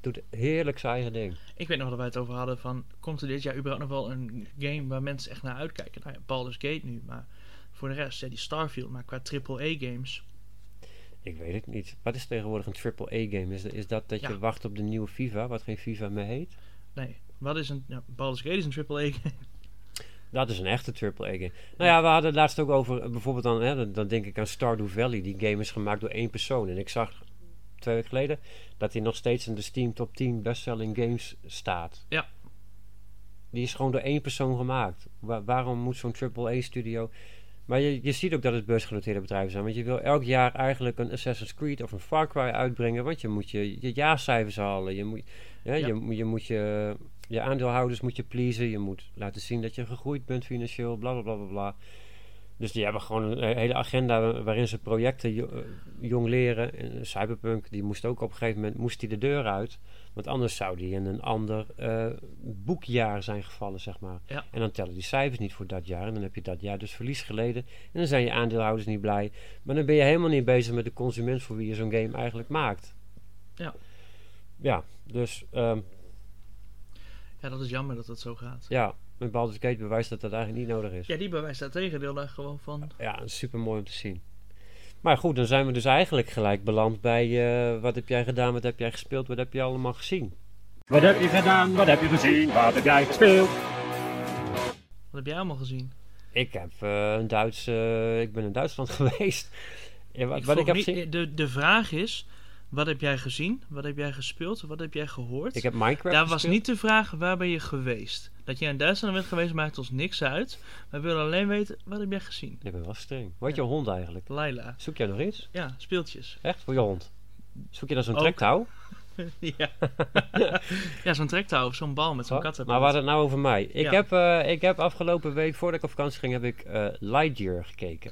Speaker 2: doet heerlijk zijn eigen ding.
Speaker 1: Ik weet nog dat wij het over hadden van... Komt er dit jaar überhaupt nog wel een game waar mensen echt naar uitkijken? Nou ja, Baldur's Gate nu, maar voor de rest, ja, die Starfield. Maar qua AAA games...
Speaker 2: Ik weet het niet. Wat is tegenwoordig een triple-A-game? Is, is dat dat
Speaker 1: Ja.
Speaker 2: je wacht op de nieuwe FIFA, wat geen FIFA meer heet?
Speaker 1: Nee, wat is een... Ja, Baldur's Gate is een AAA game. (laughs)
Speaker 2: Dat is een echte triple-A-game. Nou ja, we hadden het laatst ook over, eh, bijvoorbeeld dan, hè, dan, dan denk ik aan Stardew Valley. Die game is gemaakt door één persoon. En ik zag twee weken geleden dat hij nog steeds in de Steam Top 10 bestselling games staat.
Speaker 1: Ja.
Speaker 2: Die is gewoon door één persoon gemaakt. Wa- waarom moet zo'n AAA-studio... Maar je, je ziet ook dat het beursgenoteerde bedrijven zijn. Want je wil elk jaar eigenlijk een Assassin's Creed of een Far Cry uitbrengen. Want je moet je, je jaarcijfers halen. Je moet, hè,
Speaker 1: Ja.
Speaker 2: je, moet- je moet je je aandeelhouders moet je pleasen. Je moet laten zien dat je gegroeid bent financieel, bla bla bla bla. bla. Dus die hebben gewoon een hele agenda wa- waarin ze projecten jo- eh, jong leren. En Cyberpunk, die moest ook op een gegeven moment moest die de deur uit. Want anders zou die in een ander eh, boekjaar zijn gevallen, zeg maar.
Speaker 1: Ja.
Speaker 2: En dan tellen die cijfers niet voor dat jaar. En dan heb je dat jaar dus verlies geleden. En dan zijn je aandeelhouders niet blij. Maar dan ben je helemaal niet bezig met de consument voor wie je zo'n game eigenlijk maakt.
Speaker 1: Ja.
Speaker 2: Ja, dus ehm,
Speaker 1: Ja, dat is jammer dat dat zo gaat.
Speaker 2: ja, met Baldur's Gate bewijst dat dat eigenlijk niet nodig is. Ja,
Speaker 1: Ja, die bewijst dat tegendeel daar gewoon van.
Speaker 2: super mooi om te zien. Maar goed, dan zijn we dus eigenlijk gelijk beland bij eh, wat heb jij gedaan, wat heb jij gespeeld, wat heb je allemaal gezien.
Speaker 3: Wat heb je gedaan? Wat heb je gezien? Wat heb jij gespeeld?
Speaker 1: Wat heb jij allemaal gezien?
Speaker 2: Ik heb eh, een Duits, eh, ik ben in Duitsland (laughs) geweest. Ja, wat,
Speaker 1: Ik
Speaker 2: wat ik
Speaker 1: vroeg
Speaker 2: heb
Speaker 1: niet- eh,
Speaker 2: gezien?
Speaker 1: de, de vraag is, wat heb jij gezien? Wat heb jij gespeeld? Wat heb jij gehoord?
Speaker 2: Ik heb Minecraft
Speaker 1: Daar was
Speaker 2: gespeeld.
Speaker 1: niet de vraag, waar ben je geweest? Dat jij in Duitsland bent geweest maakt ons niks uit. We willen alleen weten, wat heb jij gezien?
Speaker 2: Je bent wel streng. Wat
Speaker 1: Ja.
Speaker 2: je hond eigenlijk?
Speaker 1: Laila.
Speaker 2: Zoek jij nog iets?
Speaker 1: Ja, speeltjes. (laughs)
Speaker 2: Echt? Voor je hond? Zoek je dan zo'n
Speaker 1: Ook.
Speaker 2: trektouw?
Speaker 1: ja. (laughs) ja, zo'n trektouw of zo'n bal met zo'n
Speaker 2: Wat?
Speaker 1: kat
Speaker 2: Maar waar het nou over mij? Ik,
Speaker 1: Ja.
Speaker 2: heb, eh, ik heb afgelopen week, voordat ik op vakantie ging, heb ik eh, Lightyear gekeken.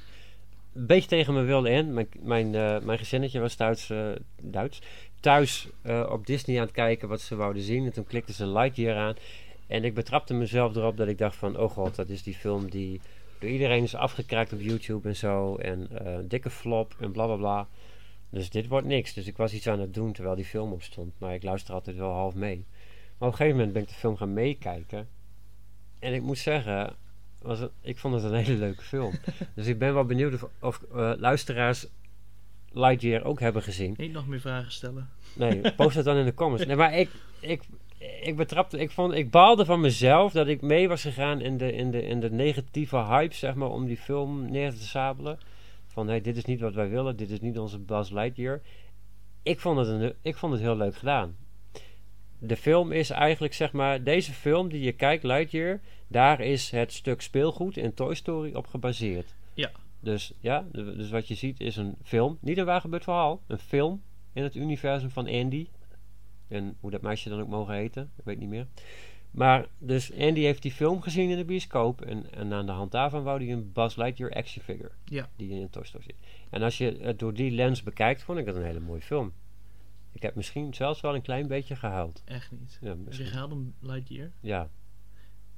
Speaker 2: Een beetje tegen mijn wilde in. Mijn, mijn, eh, mijn gezinnetje was thuis, eh, Duits, thuis eh, op Disney aan het kijken wat ze wouden zien. En toen klikte ze Lightyear aan. En ik betrapte mezelf erop dat ik dacht van... Oh god, dat is die film die door iedereen is afgekraakt op YouTube en zo. En eh, dikke flop en bla bla bla. Dus dit wordt niks. Dus ik was iets aan het doen terwijl die film opstond. Maar ik luister altijd wel half mee. Maar op een gegeven moment ben ik de film gaan meekijken. En ik moet zeggen, was het- ik vond het een hele leuke film. dus ik ben wel benieuwd of, of, eh, luisteraars Lightyear ook hebben gezien.
Speaker 1: Niet nog meer vragen stellen.
Speaker 2: Nee, post het dan in de comments. Nee, maar ik, ik, ik betrapte, ik, vond, ik baalde van mezelf dat ik mee was gegaan in de, in de, in de negatieve hype, zeg maar, om die film neer te sabelen. Van, hey, dit is niet wat wij willen, dit is niet onze Buzz Lightyear. Ik vond het, een, ik vond het heel leuk gedaan. De film is eigenlijk, zeg maar, deze film die je kijkt, Lightyear, daar is het stuk speelgoed in Toy Story op gebaseerd.
Speaker 1: Ja.
Speaker 2: Dus ja, d- dus wat je ziet is een film, niet een waar gebeurd verhaal, een film in het universum van Andy. En hoe dat meisje dan ook mogen heten, ik weet niet meer. Maar dus Andy heeft die film gezien in de bioscoop. En, en aan de hand daarvan wou hij een Buzz Lightyear action figure.
Speaker 1: Ja.
Speaker 2: Die in Toy Story zit. En als je het door die lens bekijkt, vond ik het een hele mooie film. Ik heb misschien zelfs wel een klein beetje gehuild.
Speaker 1: Echt niet.
Speaker 2: Ja,
Speaker 1: Heb je
Speaker 2: misschien.
Speaker 1: gehaald om Lightyear?
Speaker 2: Ja.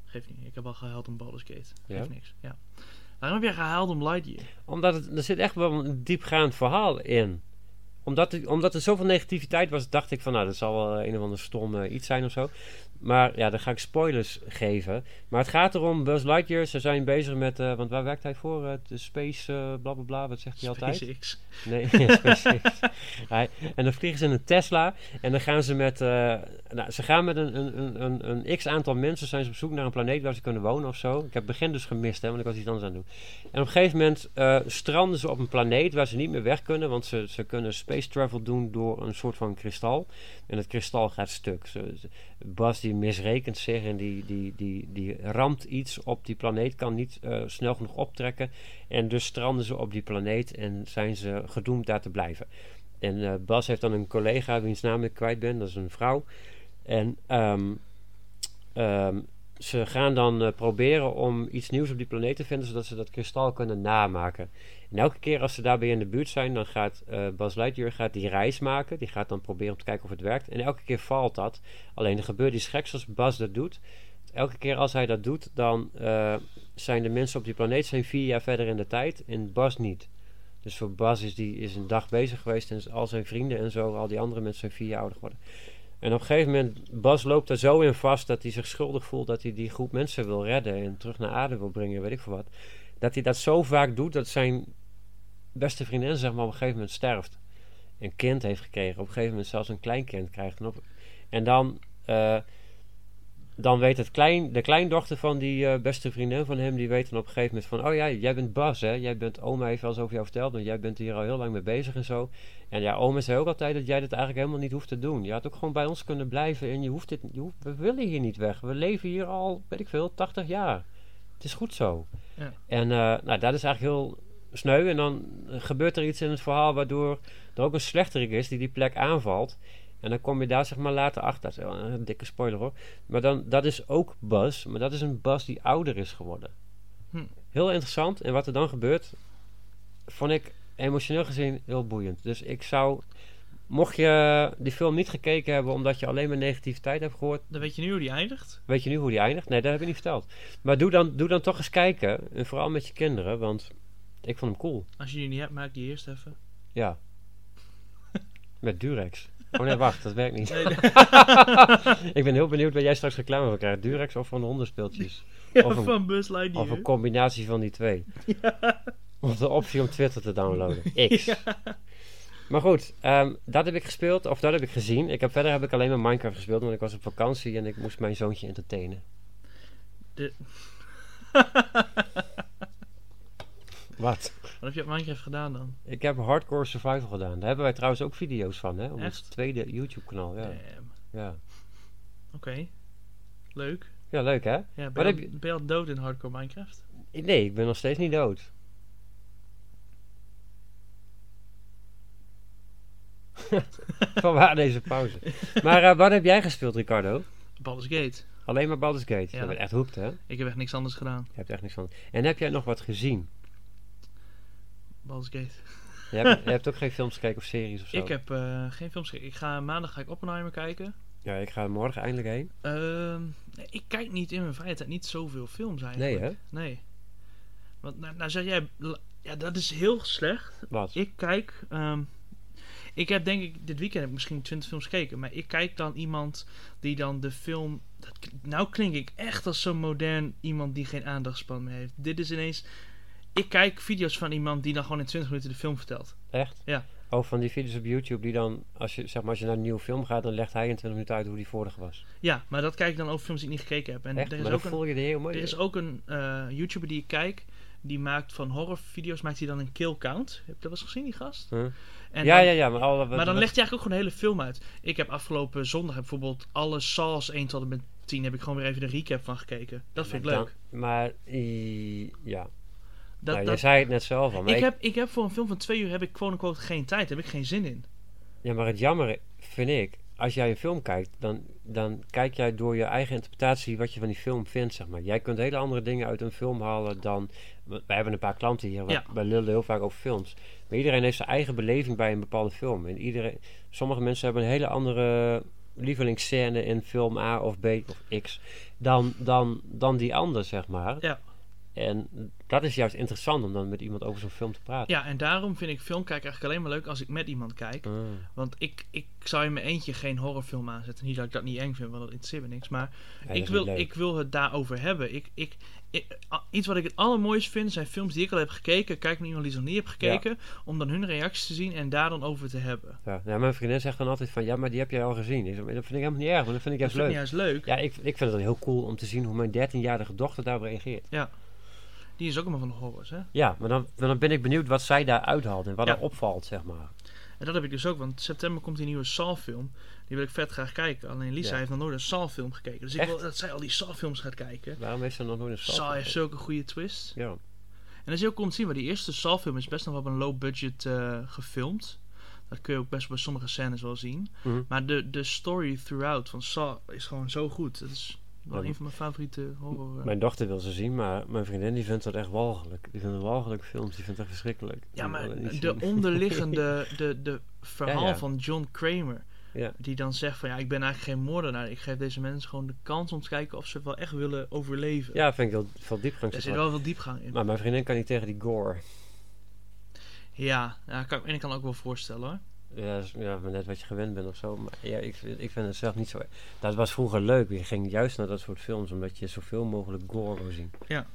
Speaker 1: Geeft niet. Ik heb al gehaald om Baldur's Gate. Geeft
Speaker 2: Ja?
Speaker 1: niks. Ja. Waarom heb jij gehaald om Lightyear?
Speaker 2: Omdat het, er zit echt wel een diepgaand verhaal in. Omdat, ik- omdat er zoveel negativiteit was, dacht ik van nou, dat zal wel een of ander stom eh, iets zijn of zo. Maar ja, dan ga ik spoilers geven. Maar het gaat erom, Buzz Lightyear, ze zijn bezig met, eh, want waar werkt hij voor? Eh, de space, eh bla bla bla, wat zegt hij altijd?
Speaker 1: SpaceX.
Speaker 2: Nee, (laughs) ja, SpaceX. Hij- en dan vliegen ze in een Tesla. En dan gaan ze met, eh, nou, ze gaan met een, een, een- een, een x aantal mensen zijn ze op zoek naar een planeet waar ze kunnen wonen of zo. Ik heb het begin dus gemist, hè, want ik was iets anders aan het doen. En op een gegeven moment eh, stranden ze op een planeet waar ze niet meer weg kunnen. Want ze, ze kunnen space travel doen door een soort van kristal. En het kristal gaat stuk. Ze, ze- Bas die misrekent zich en die, die, die, die ramt iets op die planeet. Kan niet eh, snel genoeg optrekken. En dus stranden ze op die planeet en zijn ze gedoemd daar te blijven. En eh, Bas heeft dan een collega, wiens naam ik kwijt ben, dat is een vrouw. En ehm, ehm, ze gaan dan eh, proberen om iets nieuws op die planeet te vinden, zodat ze dat kristal kunnen namaken. En elke keer als ze daarbij in de buurt zijn, dan gaat eh, Bas Lightyear gaat die reis maken. Die gaat dan proberen om te kijken of het werkt. En elke keer faalt dat. Alleen er gebeurt iets geks als Bas dat doet. Elke keer als hij dat doet, dan eh, zijn de mensen op die planeet zijn vier jaar verder in de tijd en Bas niet. Dus voor Bas is die is een dag bezig geweest en is al zijn vrienden en zo, al die andere mensen zijn vier jaar ouder geworden. En op een gegeven moment, Bas loopt er zo in vast dat hij zich schuldig voelt dat hij die groep mensen wil redden en terug naar aarde wil brengen, weet ik veel wat. Dat hij dat zo vaak doet dat zijn beste vriendin zeg maar op een gegeven moment sterft. Een kind heeft gekregen, op een gegeven moment zelfs een kleinkind krijgt. En, op- en dan, eh, dan weet het klein, de kleindochter van die eh, beste vriendin van hem, die weet dan op een gegeven moment van, oh ja, jij bent Bas hè, jij bent, oma heeft wel eens over jou verteld, want jij bent hier al heel lang mee bezig en zo. En ja, oma zei ook altijd dat jij dit eigenlijk helemaal niet hoeft te doen. Je had ook gewoon bij ons kunnen blijven en je hoeft dit, je hoeft, we willen hier niet weg. We leven hier al, weet ik veel, 80 jaar. Het is goed zo.
Speaker 1: Ja.
Speaker 2: En eh, nou, dat is eigenlijk heel sneu. En dan gebeurt er iets in het verhaal waardoor er ook een slechterik is die die plek aanvalt. En dan kom je daar zeg maar later achter. Dat is wel een dikke spoiler hoor. Maar dan, dat is ook Bas. Maar dat is een Bas die ouder is geworden.
Speaker 1: Hm.
Speaker 2: Heel interessant. En wat er dan gebeurt, vond ik emotioneel gezien heel boeiend. Dus ik zou, mocht je die film niet gekeken hebben omdat je alleen maar negativiteit hebt gehoord,
Speaker 1: Dan weet je nu hoe die eindigt.
Speaker 2: Weet je nu hoe die eindigt? Nee, dat heb ik niet verteld. Maar doe dan, doe dan toch eens kijken. En vooral met je kinderen, want ik vond hem cool.
Speaker 1: Als je die niet hebt, maak die eerst
Speaker 2: (laughs)
Speaker 1: even.
Speaker 2: Ja. Met Durex. Oh nee, wacht, dat werkt niet.
Speaker 1: Nee, nee.
Speaker 2: (laughs) Ik ben heel benieuwd waar jij straks reclame voor krijgt. Durex of van de hondenspeeltjes. Of een-
Speaker 1: van Buzz Lightyear.
Speaker 2: Of een combinatie van die
Speaker 1: (laughs)
Speaker 2: twee. Of de optie om Twitter te downloaden. X. Maar goed, ehm, dat heb ik gespeeld, of dat heb ik gezien. Ik heb, verder heb ik alleen maar Minecraft gespeeld, want ik was op vakantie en ik moest mijn zoontje entertainen.
Speaker 1: De-
Speaker 2: (laughs) Wat?
Speaker 1: Wat heb je op Minecraft gedaan dan?
Speaker 2: Ik heb hardcore survival gedaan. Daar hebben wij trouwens ook video's van, hè? Op ons
Speaker 1: Echt?
Speaker 2: tweede YouTube-kanaal. Ja.
Speaker 1: Damn.
Speaker 2: Ja.
Speaker 1: Oké. Leuk.
Speaker 2: ja, leuk hè?
Speaker 1: Ja, ben,
Speaker 2: Wat
Speaker 1: je,
Speaker 2: heb
Speaker 1: ben je al dood in hardcore Minecraft?
Speaker 2: Nee, ik ben nog steeds niet dood. (laughs) Vanwaar deze pauze. Maar eh, wat heb jij gespeeld, Ricardo?
Speaker 1: Baldur's Gate.
Speaker 2: Alleen maar Baldur's Gate.
Speaker 1: Ja.
Speaker 2: Je bent echt hoekt, hè?
Speaker 1: Ik heb echt niks anders gedaan.
Speaker 2: Je hebt echt niks van. En heb jij nog wat gezien?
Speaker 1: Baldur's Gate.
Speaker 2: Je
Speaker 1: (laughs)
Speaker 2: hebt, je hebt ook geen films gekeken of series of zo?
Speaker 1: Ik heb eh, geen films gekeken. Ik ga maandag ga ik Oppenheimer kijken.
Speaker 2: Ja, ik ga morgen eindelijk heen.
Speaker 1: Ehm, nee, ik kijk niet in mijn vrije tijd niet zoveel films eigenlijk.
Speaker 2: Nee, hè?
Speaker 1: Nee. Want nou, nou zeg jij... la- Ja, dat is heel slecht.
Speaker 2: Wat?
Speaker 1: Ik kijk... ehm, ik heb denk ik... Dit weekend heb ik misschien 20 films gekeken. Maar ik kijk dan iemand die dan de film... Dat, kl- nou klink ik echt als zo'n modern iemand die geen aandachtspan meer heeft. Dit is ineens... Ik kijk video's van iemand die dan gewoon in 20 minuten de film vertelt.
Speaker 2: Echt?
Speaker 1: Ja.
Speaker 2: Oh, van die video's op YouTube die dan, als je, zeg maar, als je naar een nieuwe film gaat, dan legt hij in 20 minuten uit hoe die vorige was.
Speaker 1: Ja, maar dat kijk ik dan over films die ik niet gekeken heb. En
Speaker 2: Echt?
Speaker 1: er is
Speaker 2: maar
Speaker 1: ook
Speaker 2: dan
Speaker 1: een...
Speaker 2: voel je de hele
Speaker 1: Er
Speaker 2: mooie.
Speaker 1: is ook een eh, YouTuber die ik kijk. Die maakt van horrorvideo's, maakt hij dan een kill count. Heb je dat wel eens gezien, die gast?
Speaker 2: Huh?
Speaker 1: En
Speaker 2: ja,
Speaker 1: dan-
Speaker 2: ja, ja, maar, alle, wat-
Speaker 1: Maar dan
Speaker 2: wat-
Speaker 1: legt hij eigenlijk ook gewoon de hele film uit. Ik heb afgelopen zondag heb bijvoorbeeld alle Saws 1 tot en met 10... heb ik gewoon weer even de recap van gekeken. Dat vind ik
Speaker 2: dan-
Speaker 1: leuk.
Speaker 2: maar, i- ja.
Speaker 1: Dat,
Speaker 2: nou, je
Speaker 1: dat...
Speaker 2: zei het net zelf al. Maar
Speaker 1: Ik,
Speaker 2: ik-
Speaker 1: heb, ik heb voor een film van twee uur heb ik gewoon quote geen tijd. Heb ik geen zin in.
Speaker 2: Ja, maar het jammer vind ik, als jij een film kijkt, dan, dan kijk jij door je eigen interpretatie wat je van die film vindt, zeg maar. Jij kunt hele andere dingen uit een film halen dan... we- Wij hebben een paar klanten hier,
Speaker 1: Ja.
Speaker 2: we wij lullen heel vaak over films. Maar iedereen heeft zijn eigen beleving bij een bepaalde film. En iedereen, sommige mensen hebben een hele andere lievelingsscène in film A of B of X dan, dan, dan die ander, zeg maar.
Speaker 1: Ja.
Speaker 2: En dat is juist interessant om dan met iemand over zo'n film te praten.
Speaker 1: Ja, en daarom vind ik filmkijken eigenlijk alleen maar leuk als ik met iemand kijk.
Speaker 2: Ah.
Speaker 1: Want ik, ik zou in mijn eentje geen horrorfilm aanzetten. Niet dat ik dat niet eng vind, want dat interesseert me niks. Maar
Speaker 2: Ja, dat
Speaker 1: ik,
Speaker 2: is
Speaker 1: wil,
Speaker 2: niet leuk.
Speaker 1: ik wil het daarover hebben. Ik, ik, ik- a- iets wat ik het allermooist vind zijn films die ik al heb gekeken. Kijk naar iemand die ze nog niet heeft gekeken. Om dan hun reacties te zien en daar dan over te hebben.
Speaker 2: Ja, nou, mijn vriendin zegt dan altijd van, ja, maar die heb jij al gezien. Ik zeg, maar dat vind ik helemaal niet erg, want dat vind ik
Speaker 1: Dat
Speaker 2: juist
Speaker 1: vind ik
Speaker 2: leuk.
Speaker 1: juist leuk.
Speaker 2: Ja, ik, ik vind het heel cool om te zien hoe mijn 13-jarige dochter daarop reageert.
Speaker 1: Die is ook allemaal van de horrors. Hè?
Speaker 2: Ja, maar dan, maar dan ben ik benieuwd wat zij daar uithaalt en wat
Speaker 1: Ja.
Speaker 2: er opvalt, zeg maar.
Speaker 1: En dat heb ik dus ook. Want in september komt die nieuwe Saw film. Die wil ik vet graag kijken. Alleen Lisa
Speaker 2: Ja.
Speaker 1: heeft nog nooit een Saw film gekeken. Dus ik
Speaker 2: Echt?
Speaker 1: wil dat zij al die Saw films gaat kijken.
Speaker 2: Waarom heeft ze nog nooit een
Speaker 1: Saw,
Speaker 2: stap?
Speaker 1: heeft zulke goede twist.
Speaker 2: Ja.
Speaker 1: En dat is heel cool om te zien, maar die eerste Saw-film is best nog wel op een low budget eh, gefilmd. Dat kun je ook best bij sommige scènes wel zien.
Speaker 2: Mhm.
Speaker 1: Maar de, de story throughout van Saw is gewoon zo goed. Dat is wel
Speaker 2: Ja,
Speaker 1: een van mijn favoriete horror. eh.
Speaker 2: Mijn dochter wil ze zien, maar mijn vriendin die vindt dat echt walgelijk. Die vindt het walgelijk films, die vindt het echt verschrikkelijk.
Speaker 1: ja,
Speaker 2: Die wil
Speaker 1: maar
Speaker 2: het niet
Speaker 1: de
Speaker 2: zien.
Speaker 1: onderliggende
Speaker 2: (laughs)
Speaker 1: de, de verhaal
Speaker 2: Ja, ja.
Speaker 1: van John Kramer.
Speaker 2: Ja.
Speaker 1: Die dan zegt van ja, ik ben eigenlijk geen moordenaar. Ik geef deze mensen gewoon de kans om te kijken of ze het wel echt willen overleven.
Speaker 2: Ja, vind ik heel veel diepgang.
Speaker 1: er
Speaker 2: zit
Speaker 1: zit
Speaker 2: wel.
Speaker 1: wel veel diepgang in.
Speaker 2: Maar mijn vriendin kan niet tegen die gore.
Speaker 1: Ja, ja kan, en ik kan het ook wel voorstellen hoor.
Speaker 2: Ja, dat is- ja, maar net wat je gewend bent of zo. Maar ja, ik, vind- ik vind het zelf niet zo... Dat was vroeger leuk. Je ging juist naar dat soort films, omdat je zoveel mogelijk gore wil zien.
Speaker 1: Ja.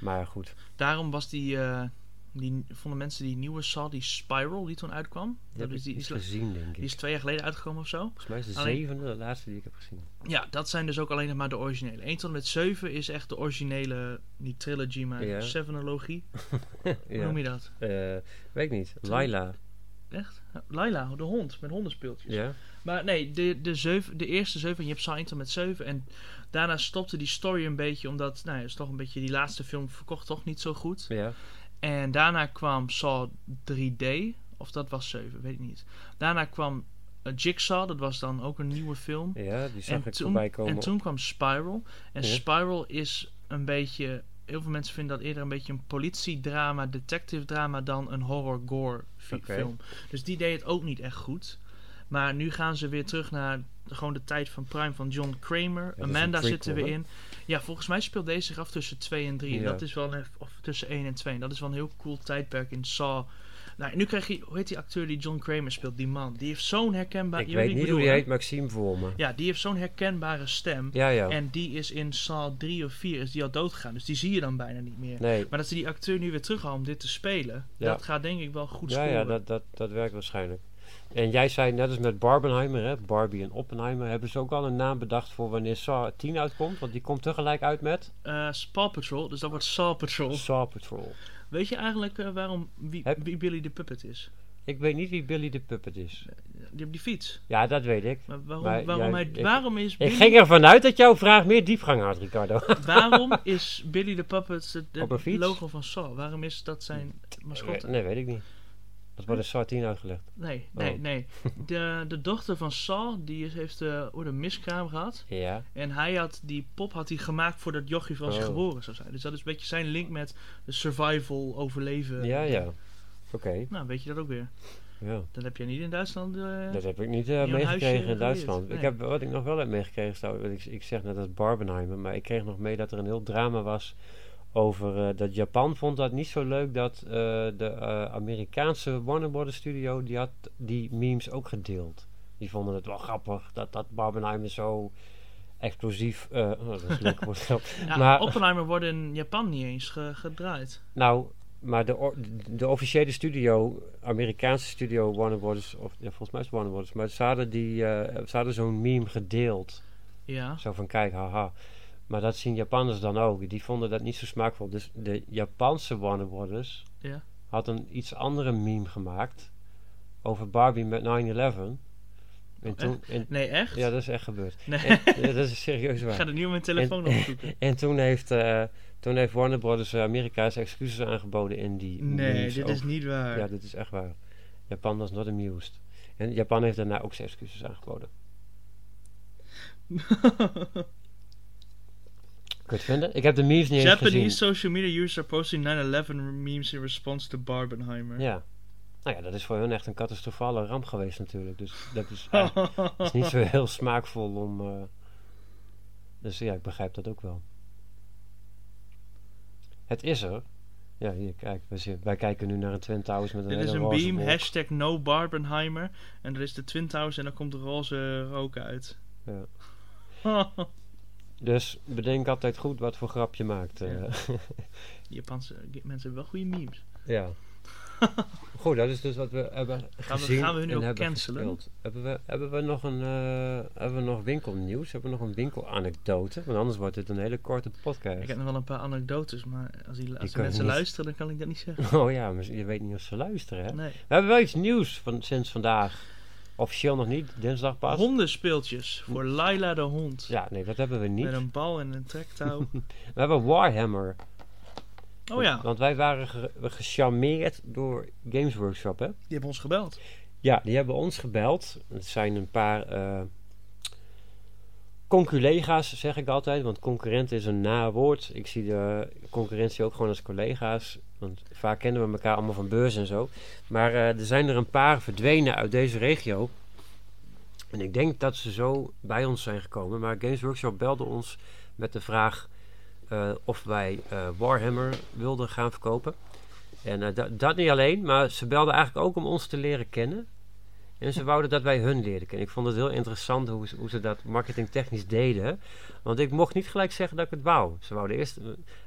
Speaker 2: Maar goed.
Speaker 1: Daarom was die, eh, die vonden mensen die nieuwe Saw, die Spiral, die toen uitkwam.
Speaker 2: Die
Speaker 1: Dat
Speaker 2: heb
Speaker 1: is,
Speaker 2: ik
Speaker 1: die,
Speaker 2: niet
Speaker 1: is, die
Speaker 2: gezien, denk ik.
Speaker 1: is twee jaar geleden uitgekomen of zo.
Speaker 2: Volgens mij is de
Speaker 1: alleen-
Speaker 2: zevende, de laatste die ik heb gezien.
Speaker 1: Ja, dat zijn dus ook alleen nog maar de originele. 1 tot en met 7 is echt de originele, niet trilogy, maar
Speaker 2: Ja.
Speaker 1: Sevenologie. Hoe
Speaker 2: Ja.
Speaker 1: noem je dat?
Speaker 2: Eh, weet ik niet. Laila.
Speaker 1: Echt? Laila, de hond, met hondenspeeltjes.
Speaker 2: Ja?
Speaker 1: Maar nee, de, de, zeven, de eerste 7, je hebt Saw 1 tot en met 7. En daarna stopte die story een beetje, omdat, nou ja, is toch een beetje, die laatste film verkocht toch niet zo goed.
Speaker 2: Ja.
Speaker 1: En daarna kwam Saw 3D, of dat was 7, weet ik niet. Daarna kwam eh, Jigsaw, dat was dan ook een nieuwe film.
Speaker 2: Ja, die zag
Speaker 1: En toen,
Speaker 2: ik voorbij komen.
Speaker 1: en toen kwam Spiral. En
Speaker 2: Ja.
Speaker 1: Spiral is een beetje, heel veel mensen vinden dat eerder een beetje een politiedrama, detective drama dan een horror-gore fi-
Speaker 2: Oké.
Speaker 1: film. Dus die deed het ook niet echt goed. Maar nu gaan ze weer terug naar gewoon de tijd van Prime van John Kramer.
Speaker 2: is een
Speaker 1: Amanda zit er
Speaker 2: prequel,
Speaker 1: weer
Speaker 2: hè?
Speaker 1: in. Ja, volgens mij speelt deze zich af tussen 2 en 3. En
Speaker 2: Ja.
Speaker 1: dat is wel een, of tussen 1 en 2. En dat is wel een heel cool tijdperk in Saw. Nou, en nu krijg je, hoe heet die acteur die John Kramer speelt? Die man. Die heeft zo'n herkenbaar...
Speaker 2: ik
Speaker 1: je weet
Speaker 2: weet
Speaker 1: wie
Speaker 2: niet hoe
Speaker 1: bedoel,
Speaker 2: die
Speaker 1: hè?
Speaker 2: heet, maar ik zie hem voor me.
Speaker 1: Ja, die heeft zo'n herkenbare stem.
Speaker 2: Ja, ja.
Speaker 1: En die is in Saw 3 of 4 is die al doodgegaan. Dus die zie je dan bijna niet meer.
Speaker 2: Nee.
Speaker 1: Maar dat ze die acteur nu weer terughalen om dit te spelen,
Speaker 2: Ja.
Speaker 1: dat gaat denk ik wel goed
Speaker 2: Ja,
Speaker 1: scoren.
Speaker 2: ja dat, dat, dat werkt waarschijnlijk. En jij zei net als met Barbenheimer, hè, Barbie en Oppenheimer, hebben ze ook al een naam bedacht voor wanneer Saw 10 uitkomt? Want die komt tegelijk uit met
Speaker 1: Eh, Paw Patrol, dus dat wordt Saw Patrol.
Speaker 2: Saw Patrol.
Speaker 1: Weet je eigenlijk eh, waarom wie,
Speaker 2: Heb-
Speaker 1: wie Billy de Puppet is?
Speaker 2: Ik weet niet wie Billy de Puppet is.
Speaker 1: Die op die fiets.
Speaker 2: Ja, dat weet ik.
Speaker 1: Maar waarom,
Speaker 2: Maar
Speaker 1: waarom,
Speaker 2: jij-
Speaker 1: hij,
Speaker 2: ik-
Speaker 1: waarom, is
Speaker 2: Ik
Speaker 1: Billy,
Speaker 2: ging ervan uit dat jouw vraag meer diepgang had, Ricardo.
Speaker 1: waarom is Billy de Puppet het
Speaker 2: Op een
Speaker 1: het
Speaker 2: fiets?
Speaker 1: logo van Saw? Waarom is dat zijn mascotte?
Speaker 2: (laughs) nee, weet ik niet. Dat wordt in Saw 10 uitgelegd.
Speaker 1: Nee, nee,
Speaker 2: Oh.
Speaker 1: nee. De, de dochter van Saw, die is- heeft eh ooit een miskraam gehad.
Speaker 2: Ja.
Speaker 1: En hij had die pop had hij gemaakt voordat Jochie van zich
Speaker 2: Oh.
Speaker 1: geboren zou zijn. Dus dat is een beetje zijn link met de survival, overleven.
Speaker 2: Ja, ja. Oké.
Speaker 1: Nou, weet je dat ook weer.
Speaker 2: Ja.
Speaker 1: Dat heb jij niet in Duitsland. eh,
Speaker 2: Dat heb ik niet eh,
Speaker 1: aan huisje
Speaker 2: meegekregen in
Speaker 1: geleerd.
Speaker 2: Duitsland.
Speaker 1: Nee.
Speaker 2: Ik heb, wat ik nog wel heb meegekregen, is dat- ik, ik zeg net als Barbenheimer, maar ik kreeg nog mee dat er een heel drama was over eh, dat Japan vond dat niet zo leuk dat eh, de eh, Amerikaanse Warner Brothers studio, die had die memes ook gedeeld. Die vonden het wel grappig dat, dat Barbenheimer zo explosief... eh, (laughs) oh, dat is leuk woord, grap.
Speaker 1: ja,
Speaker 2: maar-
Speaker 1: Oppenheimer wordt in Japan niet eens ge- gedraaid.
Speaker 2: Nou, maar de, or- de officiële studio, Amerikaanse studio Warner Brothers, of ja, volgens mij is het Warner Brothers, maar ze hadden, die, eh, ze hadden zo'n meme gedeeld.
Speaker 1: Ja.
Speaker 2: Zo van, kijk, haha. Maar dat zien Japanners dan ook. Die vonden dat niet zo smaakvol. Dus de Japanse Warner Brothers
Speaker 1: Ja.
Speaker 2: had een iets andere meme gemaakt over Barbie met 9-11. En toen... en-
Speaker 1: Nee, Oh, echt?
Speaker 2: ja, dat is echt gebeurd.
Speaker 1: Nee.
Speaker 2: En- ja, dat is serieus
Speaker 1: Ik
Speaker 2: waar.
Speaker 1: (laughs) ga het nu op mijn telefoon
Speaker 2: (laughs)
Speaker 1: opzoeken.
Speaker 2: En toen heeft, eh, toen heeft Warner Brothers eh, Amerika zijn excuses aangeboden in die
Speaker 1: Nee,
Speaker 2: memes
Speaker 1: dit is
Speaker 2: over-
Speaker 1: niet waar. (laughs)
Speaker 2: Ja, dit is echt waar. Japan was not amused. En Japan heeft daarna ook zijn excuses aangeboden. Kun je het vinden? Ik heb de memes niet eens gezien.
Speaker 1: Japanese social media users are posting 9-11 memes in response to Barbenheimer. (laughs)
Speaker 2: Ja. Nou ja, dat is voor hun echt een catastrofale ramp geweest natuurlijk. Dus
Speaker 1: (laughs)
Speaker 2: dat is, eh, dat is niet zo heel smaakvol om... eh, Dus ja, ik begrijp dat ook wel. Het is er. Ja, hier, kijk. we zitten- wij kijken nu naar een Twin Towers met een
Speaker 1: Dit
Speaker 2: hele
Speaker 1: is een
Speaker 2: roze
Speaker 1: beam,
Speaker 2: wolk.
Speaker 1: hashtag no Barbenheimer. En dat is de Twin Towers en dan komt de roze rook uit.
Speaker 2: Ja. Dus bedenk altijd goed wat voor grap je maakt. eh.
Speaker 1: Ja. (laughs) Japanse mensen hebben wel goede memes.
Speaker 2: (laughs) Ja. (laughs) Goed, dat is dus wat we hebben
Speaker 1: Gaan we-
Speaker 2: gezien
Speaker 1: gaan we hun
Speaker 2: en
Speaker 1: ook
Speaker 2: hebben
Speaker 1: cancelen?
Speaker 2: gespeeld. Hebben we, hebben we nog een eh, hebben we nog winkelnieuws? Hebben we nog een winkelanekdote? Want anders wordt dit een hele korte
Speaker 1: Ik
Speaker 2: podcast.
Speaker 1: heb nog wel een paar anekdotes, maar als, die, als de
Speaker 2: kan je
Speaker 1: mensen
Speaker 2: niet-
Speaker 1: luisteren, dan kan ik dat niet zeggen.
Speaker 2: (laughs) Oh ja, maar je weet niet of ze luisteren, hè?
Speaker 1: Nee.
Speaker 2: We hebben wel iets nieuws van, sinds vandaag. Officieel nog niet, dinsdag pas.
Speaker 1: Hondenspeeltjes voor Laila de hond.
Speaker 2: Ja, nee, dat hebben we niet.
Speaker 1: Met een bal en een
Speaker 2: (laughs)
Speaker 1: trektouw.
Speaker 2: We hebben Warhammer.
Speaker 1: Oh ja, die
Speaker 2: Want wij waren ge- gecharmeerd door Games Workshop, hè?
Speaker 1: hebben ons gebeld.
Speaker 2: Ja, die hebben ons gebeld. Het zijn een paar eh conculega's, zeg ik altijd. Want concurrent is een na woord. Ik zie de concurrentie ook gewoon als collega's. Want vaak kennen we elkaar allemaal van beurs en zo. Maar eh, er zijn er een paar verdwenen uit deze regio. En ik denk dat ze zo bij ons zijn gekomen. Maar Games Workshop belde ons met de vraag eh, of wij eh, Warhammer wilden gaan verkopen. En eh, da- dat niet alleen, maar ze belden eigenlijk ook om ons te leren kennen. En ze wouden dat wij hun leren kennen. Ik vond het heel interessant hoe ze, hoe ze dat marketingtechnisch deden. Want ik mocht niet gelijk zeggen dat ik het wou. Ze wouden eerst...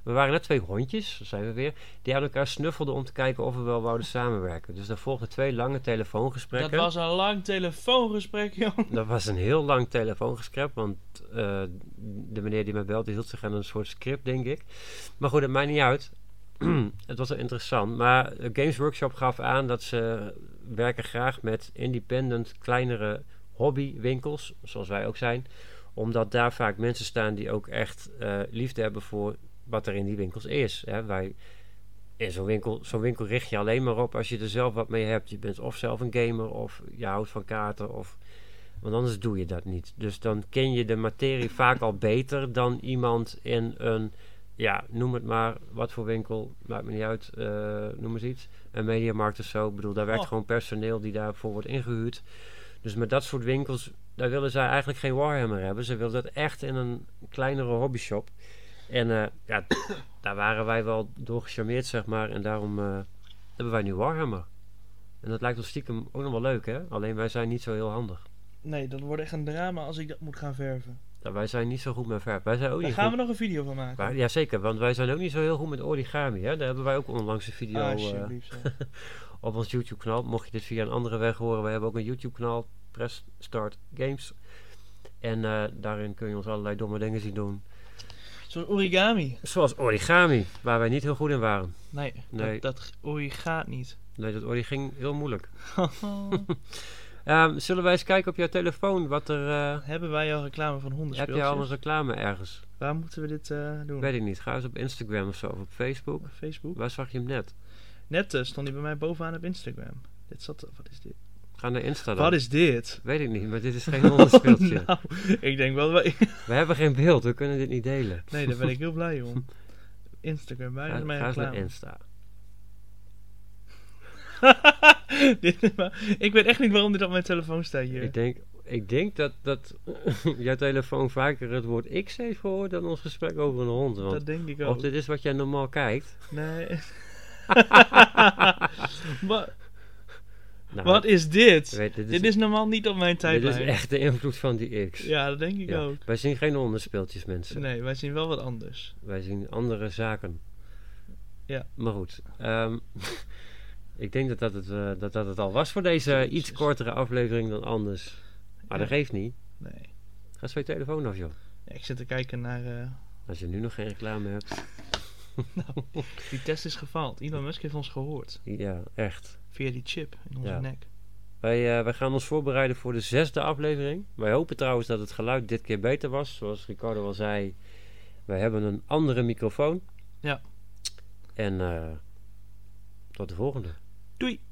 Speaker 2: We waren net twee hondjes, daar zijn we weer. Die aan elkaar snuffelden om te kijken of we wel wouden samenwerken. Dus daar volgden twee lange telefoongesprekken.
Speaker 1: Dat was een lang telefoongesprek, (laughs) joh.
Speaker 2: Dat was een heel lang telefoongesprek, want eh, de meneer die mij belde hield zich aan een soort script, denk ik. Maar goed, het maakt niet uit. (clears throat) het was wel interessant. Maar eh, Games Workshop gaf aan dat ze werken graag met independent, kleinere hobbywinkels, zoals wij ook zijn. Omdat daar vaak mensen staan die ook echt eh, liefde hebben voor wat er in die winkels is. Hè? Wij in zo'n winkel, zo'n winkel richt je alleen maar op als je er zelf wat mee hebt. Je bent of zelf een gamer, of je houdt van kaarten, of... Want anders doe je dat niet. Dus dan ken je de materie vaak al beter dan iemand in een... Ja, noem het maar, wat voor winkel, maakt me niet uit, eh, noem eens iets. Een mediamarkt of zo. Ik bedoel, daar werkt
Speaker 1: Oh.
Speaker 2: gewoon personeel die daarvoor wordt ingehuurd. Dus met dat soort winkels, daar willen zij eigenlijk geen Warhammer hebben. Ze willen dat echt in een kleinere hobbyshop. En eh, ja, (coughs) daar waren wij wel door gecharmeerd, zeg maar. En daarom eh, hebben wij nu Warhammer. En dat lijkt ons stiekem ook nog wel leuk, hè? Alleen wij zijn niet zo heel handig.
Speaker 1: Nee, dat wordt echt een drama als ik dat moet gaan verven.
Speaker 2: Nou, wij zijn niet zo goed met verf. Wij zijn ook
Speaker 1: Daar
Speaker 2: niet
Speaker 1: gaan we
Speaker 2: goed.
Speaker 1: nog een video van maken.
Speaker 2: Maar- Jazeker, want wij zijn ook niet zo heel goed met origami, hè? Daar hebben wij ook onlangs een video
Speaker 1: Ah,
Speaker 2: eh,
Speaker 1: Alsjeblieft. zeg.
Speaker 2: op ons YouTube-kanaal. Mocht je dit via een andere weg horen, we hebben ook een YouTube-kanaal, Press Start Games. En eh, daarin kun je ons allerlei domme dingen zien doen.
Speaker 1: Zo'n origami.
Speaker 2: Zoals origami, waar wij niet heel goed in waren.
Speaker 1: Nee,
Speaker 2: Nee.
Speaker 1: Dat, dat origami gaat
Speaker 2: (laughs)
Speaker 1: niet. Oh,
Speaker 2: Nee, dat origami ging heel moeilijk. Ehm, zullen wij eens kijken op jouw telefoon wat er... eh,
Speaker 1: Hebben wij al reclame van honden
Speaker 2: heb je al een reclame ergens?
Speaker 1: Waar moeten we dit eh, doen?
Speaker 2: Weet ik niet. Ga eens op Instagram of zo of op Facebook.
Speaker 1: Op Facebook?
Speaker 2: Waar zag je hem net?
Speaker 1: Net eh, stond hij bij mij bovenaan op Instagram. Dit zat, eh, wat is dit?
Speaker 2: Ga naar Insta dan.
Speaker 1: Wat is dit?
Speaker 2: Weet ik niet, maar dit is geen onderspeeltje.
Speaker 1: (laughs) nou, ik denk wel... wij-
Speaker 2: We hebben geen beeld, we kunnen dit niet delen.
Speaker 1: Nee, daar
Speaker 2: (laughs)
Speaker 1: ben ik heel blij om. Instagram, waar
Speaker 2: Ga,
Speaker 1: is mijn
Speaker 2: ga eens naar
Speaker 1: reclame?
Speaker 2: Insta.
Speaker 1: (laughs) Dit is maar- ik weet echt niet waarom dit op mijn telefoon staat hier.
Speaker 2: Ik denk, ik denk dat, dat (laughs) jouw telefoon vaker het woord X heeft gehoord dan ons gesprek over een hond. Want
Speaker 1: dat denk ik
Speaker 2: of
Speaker 1: ook.
Speaker 2: dit is wat jij normaal kijkt.
Speaker 1: Nee.
Speaker 2: (laughs)
Speaker 1: (laughs) Wa-
Speaker 2: Nou,
Speaker 1: wat is dit?
Speaker 2: weet, dit is,
Speaker 1: dit is normaal niet op mijn
Speaker 2: dit is
Speaker 1: tijdlijn.
Speaker 2: echt de invloed van die X.
Speaker 1: Ja, dat denk ik
Speaker 2: Ja.
Speaker 1: ook.
Speaker 2: Wij zien geen onderspeeltjes, mensen.
Speaker 1: Nee, wij zien wel wat anders.
Speaker 2: Wij zien andere zaken.
Speaker 1: Ja.
Speaker 2: Maar goed. ehm, (laughs) ik denk dat dat, het, eh, dat dat het al was voor deze iets
Speaker 1: Jezus.
Speaker 2: kortere aflevering dan anders. Maar dat
Speaker 1: Ja.
Speaker 2: geeft niet.
Speaker 1: Nee.
Speaker 2: Ga eens van je telefoon af, joh.
Speaker 1: Ja, ik zit te kijken naar... eh,
Speaker 2: Als je nu nog geen reclame hebt.
Speaker 1: die test is gefaald. Elon Musk heeft ons gehoord.
Speaker 2: Ja, echt.
Speaker 1: Via die chip in onze
Speaker 2: Ja.
Speaker 1: nek.
Speaker 2: Wij, eh, wij gaan ons voorbereiden voor de zesde aflevering. Wij hopen trouwens dat het geluid dit keer beter was. Zoals Ricardo al zei, wij hebben een andere microfoon.
Speaker 1: Ja.
Speaker 2: En eh, tot de volgende.
Speaker 1: Doei!